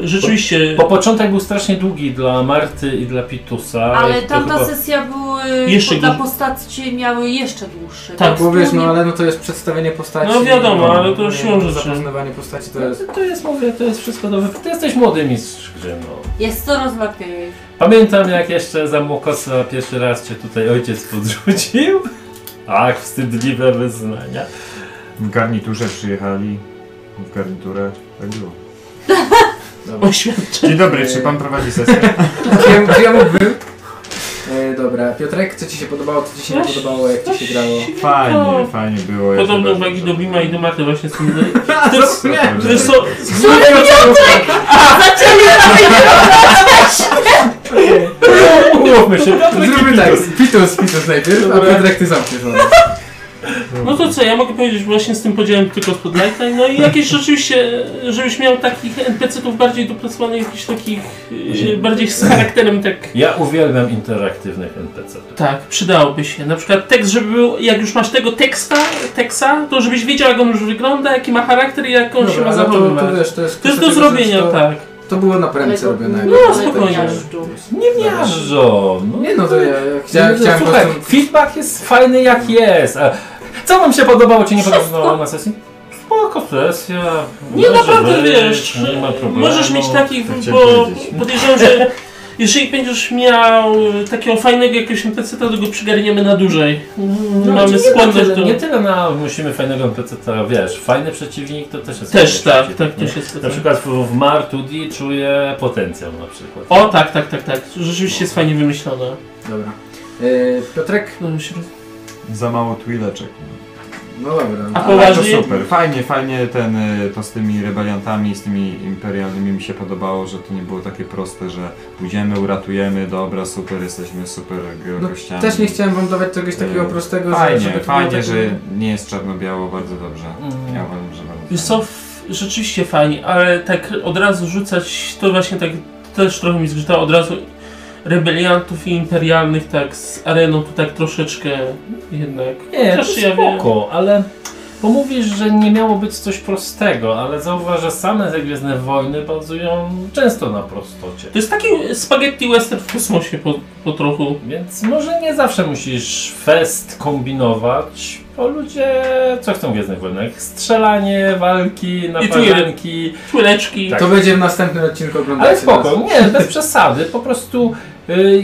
Speaker 4: rzeczywiście...
Speaker 2: Bo początek był strasznie długi dla Marty i dla Pitusa.
Speaker 5: Ale
Speaker 2: I Tak, to
Speaker 5: tamta
Speaker 2: chyba-
Speaker 5: sesja były,
Speaker 4: Jeszcze
Speaker 5: dla
Speaker 4: dłuż-
Speaker 5: postaci miały jeszcze dłuższe.
Speaker 4: Tak,
Speaker 5: To
Speaker 1: Bo wiesz, no
Speaker 5: nie-
Speaker 1: ale no to jest przedstawienie postaci.
Speaker 4: No wiadomo, ale to
Speaker 1: nie,
Speaker 4: siłą rzeczy.
Speaker 1: Zapoznawanie postaci to jest...
Speaker 2: To jest, mówię, to jest wszystko do wypracowania. Ty jesteś młody mistrz gry, no.
Speaker 5: Jest coraz lepiej.
Speaker 2: Pamiętam jak jeszcze za Mokosa pierwszy raz cię tutaj ojciec podrzucił. Ach, wstydliwe wyznania.
Speaker 3: W garniturze przyjechali. W garniturę. Tak było.
Speaker 1: Dobra.
Speaker 4: Oświadczenie.
Speaker 3: Dzień dobry, czy pan prowadzi sesję?
Speaker 1: Gdzie, gdzie ja mógłbym? E, dobra, Piotrek, co ci się podobało, co ci się nie
Speaker 4: Coś-
Speaker 1: podobało, jak ci się grało?
Speaker 3: Fajnie, fajnie było. ja się
Speaker 4: Podobne
Speaker 3: bardzo
Speaker 4: uwagi do
Speaker 3: dobrze
Speaker 4: Bima i do Maty właśnie są...
Speaker 3: bawiłem.
Speaker 4: Które są...
Speaker 2: Umówmy się,
Speaker 1: Zróbmy tak, Pitus, Pitus najpierw, a Piotrek ty zamkniesz ona.
Speaker 4: No to co, ja mogę powiedzieć właśnie z tym podziałem tylko z Podlighta, no i jakieś rzeczywiście, żebyś miał takich NPC-ów bardziej dopracowanych, jakichś takich e, bardziej z charakterem tak...
Speaker 2: Ja uwielbiam interaktywnych NPC.
Speaker 4: Tak, przydałoby się. Na przykład tekst, żeby był, jak już masz tego teksta, teksa, to żebyś wiedział jak on już wygląda, jaki ma charakter i jak on się ma
Speaker 1: ale to, to
Speaker 4: zachowywać.
Speaker 1: wiesz, to jest...
Speaker 4: No To jest
Speaker 1: kwestia tego,
Speaker 4: do
Speaker 1: że
Speaker 4: zrobienia,
Speaker 1: to,
Speaker 4: tak.
Speaker 1: To było na prędce
Speaker 5: Ale-
Speaker 1: robione.
Speaker 5: No,
Speaker 1: jakby,
Speaker 4: spokojnie.
Speaker 1: tak, że-
Speaker 2: Nie miażdżą. No,
Speaker 1: Nie no, to ja
Speaker 2: No,
Speaker 1: chciałem,
Speaker 2: no,
Speaker 1: chciałem po
Speaker 2: Słuchaj,
Speaker 1: prostu...
Speaker 2: feedback jest fajny jak jest. A Co wam się podobało, czy nie podobało na sesji? Spoko sesja.
Speaker 4: Nie,
Speaker 2: Może
Speaker 4: naprawdę
Speaker 2: być,
Speaker 4: wiesz,
Speaker 2: nie ma problemu. no,
Speaker 4: możesz mieć takich,
Speaker 3: Tak chciałem
Speaker 4: bo
Speaker 3: powiedzieć.
Speaker 4: podejrzewam, że jeżeli będziesz miał e, takiego fajnego jakiegoś NPC, to go przygarniemy na dłużej.
Speaker 2: No,
Speaker 4: Mamy
Speaker 2: znaczy nie na
Speaker 4: skłonność
Speaker 2: tyle-
Speaker 4: do...
Speaker 2: Nie tyle na musimy fajnego NPC-a, wiesz, fajny przeciwnik to też jest
Speaker 4: Też
Speaker 2: fajny
Speaker 4: tak,
Speaker 2: przeciwnik,
Speaker 4: tak,
Speaker 2: nie?
Speaker 4: też jest.
Speaker 2: Na przykład w, w Martudi czuję potencjał na przykład.
Speaker 4: O, tak, tak, tak, tak. Rzeczywiście jest fajnie wymyślone.
Speaker 1: Dobra. E, Piotrek,
Speaker 4: No, się roz-
Speaker 3: Za mało twileczek.
Speaker 1: no dobra.
Speaker 4: A
Speaker 1: No.
Speaker 3: Ale to
Speaker 4: poważnie?
Speaker 3: super, fajnie, fajnie ten, y, to z tymi rebeliantami, z tymi imperialnymi mi się podobało, że to nie było takie proste, że pójdziemy, uratujemy, dobra, super, jesteśmy super g-
Speaker 1: No,
Speaker 3: gościami.
Speaker 1: Też nie chciałem wam dawać czegoś takiego
Speaker 3: Nie.
Speaker 1: prostego, że-
Speaker 3: Fajnie,
Speaker 1: żeby to było
Speaker 3: fajnie,
Speaker 1: takie-
Speaker 3: że nie jest czarno-biało, bardzo dobrze.
Speaker 2: Mm.
Speaker 3: Ja uważam, że bardzo
Speaker 4: Wiesz co, w- rzeczywiście fajnie, ale tak od razu rzucać, to właśnie tak też trochę mi zgrzytało od razu rebeliantów i imperialnych tak z areną, to tak troszeczkę jednak.
Speaker 2: Nie, to
Speaker 4: Chociaż ja
Speaker 2: spoko, ale bo mówisz, że nie miało być coś prostego, ale zauważ, że same te Gwiezdne Wojny bazują często na prostocie.
Speaker 4: To jest taki spaghetti western w kosmosie po, po trochu.
Speaker 2: Więc może nie zawsze musisz fest kombinować, bo ludzie co chcą w Gwiezdnych Wojnach? Strzelanie, walki, napadanki.
Speaker 4: Człyleczki.
Speaker 2: Tak.
Speaker 1: To będzie w następnym odcinku oglądajcie
Speaker 2: Ale spoko,
Speaker 1: nas.
Speaker 2: nie, bez przesady, po prostu y,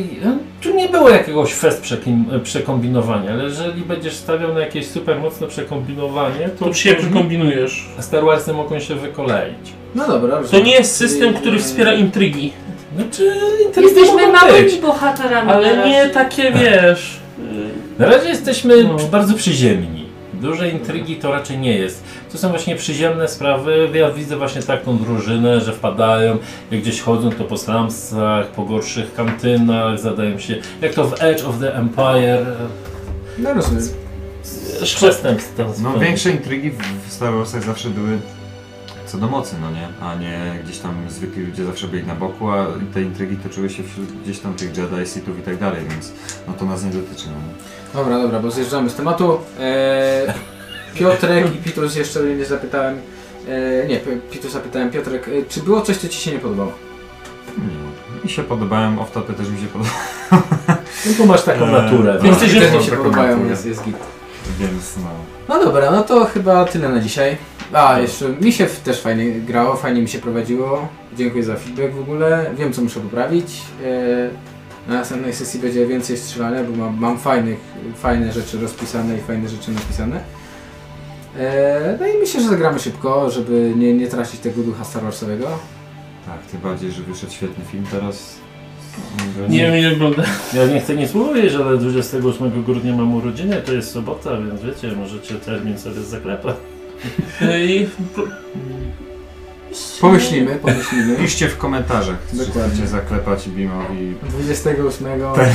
Speaker 2: tu nie było jakiegoś fest przekim- przekombinowania, ale jeżeli będziesz stawiał na jakieś super mocne przekombinowanie, to,
Speaker 4: To się przykombinujesz.
Speaker 2: Star Warsy mogą się wykoleić.
Speaker 1: No dobra,
Speaker 4: To
Speaker 1: rozumiem.
Speaker 4: nie jest system, który wspiera intrygi.
Speaker 2: Znaczy,
Speaker 5: Jesteśmy małymi
Speaker 2: małymi.
Speaker 5: bohaterami. Mhm. na
Speaker 4: Ale nie tak
Speaker 5: razie.
Speaker 4: takie, wiesz... y,
Speaker 2: Na razie jesteśmy
Speaker 4: No.
Speaker 2: przy- bardzo przyziemni. Dużej intrygi to raczej nie jest. To są właśnie przyziemne sprawy. Ja widzę właśnie taką drużynę, że wpadają, jak gdzieś chodzą, to po slumsach, po gorszych kantynach, zadają się, jak to w Edge of the Empire,
Speaker 1: No rozumiem.
Speaker 4: y,
Speaker 2: przestępstw. tam
Speaker 3: No
Speaker 2: są.
Speaker 3: większe intrygi w- w Star Warsach zawsze były co do mocy, no nie? A nie gdzieś tam zwykli ludzie zawsze byli na boku, a te intrygi toczyły się wśród gdzieś tam tych Jedi, Sithów i tak dalej, więc no to nas nie dotyczy, no nie?
Speaker 1: Dobra, dobra, bo zjeżdżamy z tematu. E, Piotrek i Pitus jeszcze nie zapytałem. E, nie, P- Pitusa pytałem. Piotrek, e, czy było coś, co ci się nie podobało?
Speaker 3: Nie. Mi się podobałem, off-topy też mi się podobały.
Speaker 2: Tylko masz taką
Speaker 3: Eee,
Speaker 2: naturę.
Speaker 3: no.
Speaker 2: no.
Speaker 4: Jesteś tak,
Speaker 1: Te mi
Speaker 3: mam
Speaker 1: się
Speaker 3: taką
Speaker 1: podobają,
Speaker 3: naturę.
Speaker 1: jest, jest git.
Speaker 3: (laughs) Więc no.
Speaker 1: No dobra, no to chyba tyle na dzisiaj. A, jeszcze mi się w- też fajnie grało, fajnie mi się prowadziło. Dziękuję za feedback w ogóle. Wiem, co muszę poprawić. E, Na następnej sesji będzie więcej strzelania, bo mam, mam fajnych, fajne rzeczy rozpisane i fajne rzeczy napisane. E, No i myślę, że zagramy szybko, żeby nie, nie tracić tego ducha Star Warsowego.
Speaker 3: Tak, tym bardziej, że wyszedł świetny film teraz.
Speaker 4: Nie wiem ile ogląda.
Speaker 2: Ja nie chcę nic mówić, ale 28 grudnia mam urodziny, to jest sobota, więc wiecie, możecie termin sobie zaklepać.
Speaker 4: I...
Speaker 1: Pomyślimy,
Speaker 4: (laughs)
Speaker 1: pomyślimy.
Speaker 3: Piszcie w komentarzach, czy
Speaker 1: Dokładnie.
Speaker 3: chcecie zaklepać Bimowi.
Speaker 1: 28.
Speaker 4: Tak.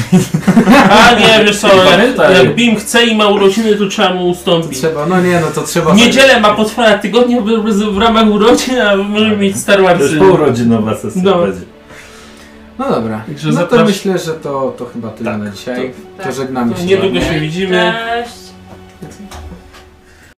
Speaker 4: A nie, wiesz co, jak,
Speaker 2: Pamiętaj.
Speaker 4: jak Bim chce i ma urodziny, to trzeba mu ustąpić.
Speaker 1: Trzeba, no nie, no to trzeba.
Speaker 4: W niedzielę ma potwora tygodnia w, w- w ramach urodzin, a możemy mieć Star
Speaker 2: To
Speaker 4: Warsy.
Speaker 2: jest półrodzinowa sesja
Speaker 4: No.
Speaker 2: będzie.
Speaker 1: No dobra.
Speaker 4: Także
Speaker 1: No to
Speaker 4: zaprasz-
Speaker 1: myślę, że to, to chyba tyle
Speaker 2: Tak,
Speaker 1: na dzisiaj. To,
Speaker 5: Tak.
Speaker 1: żegnamy
Speaker 4: To
Speaker 1: się. z
Speaker 4: niedługo
Speaker 1: wami.
Speaker 4: się widzimy.
Speaker 5: Cześć.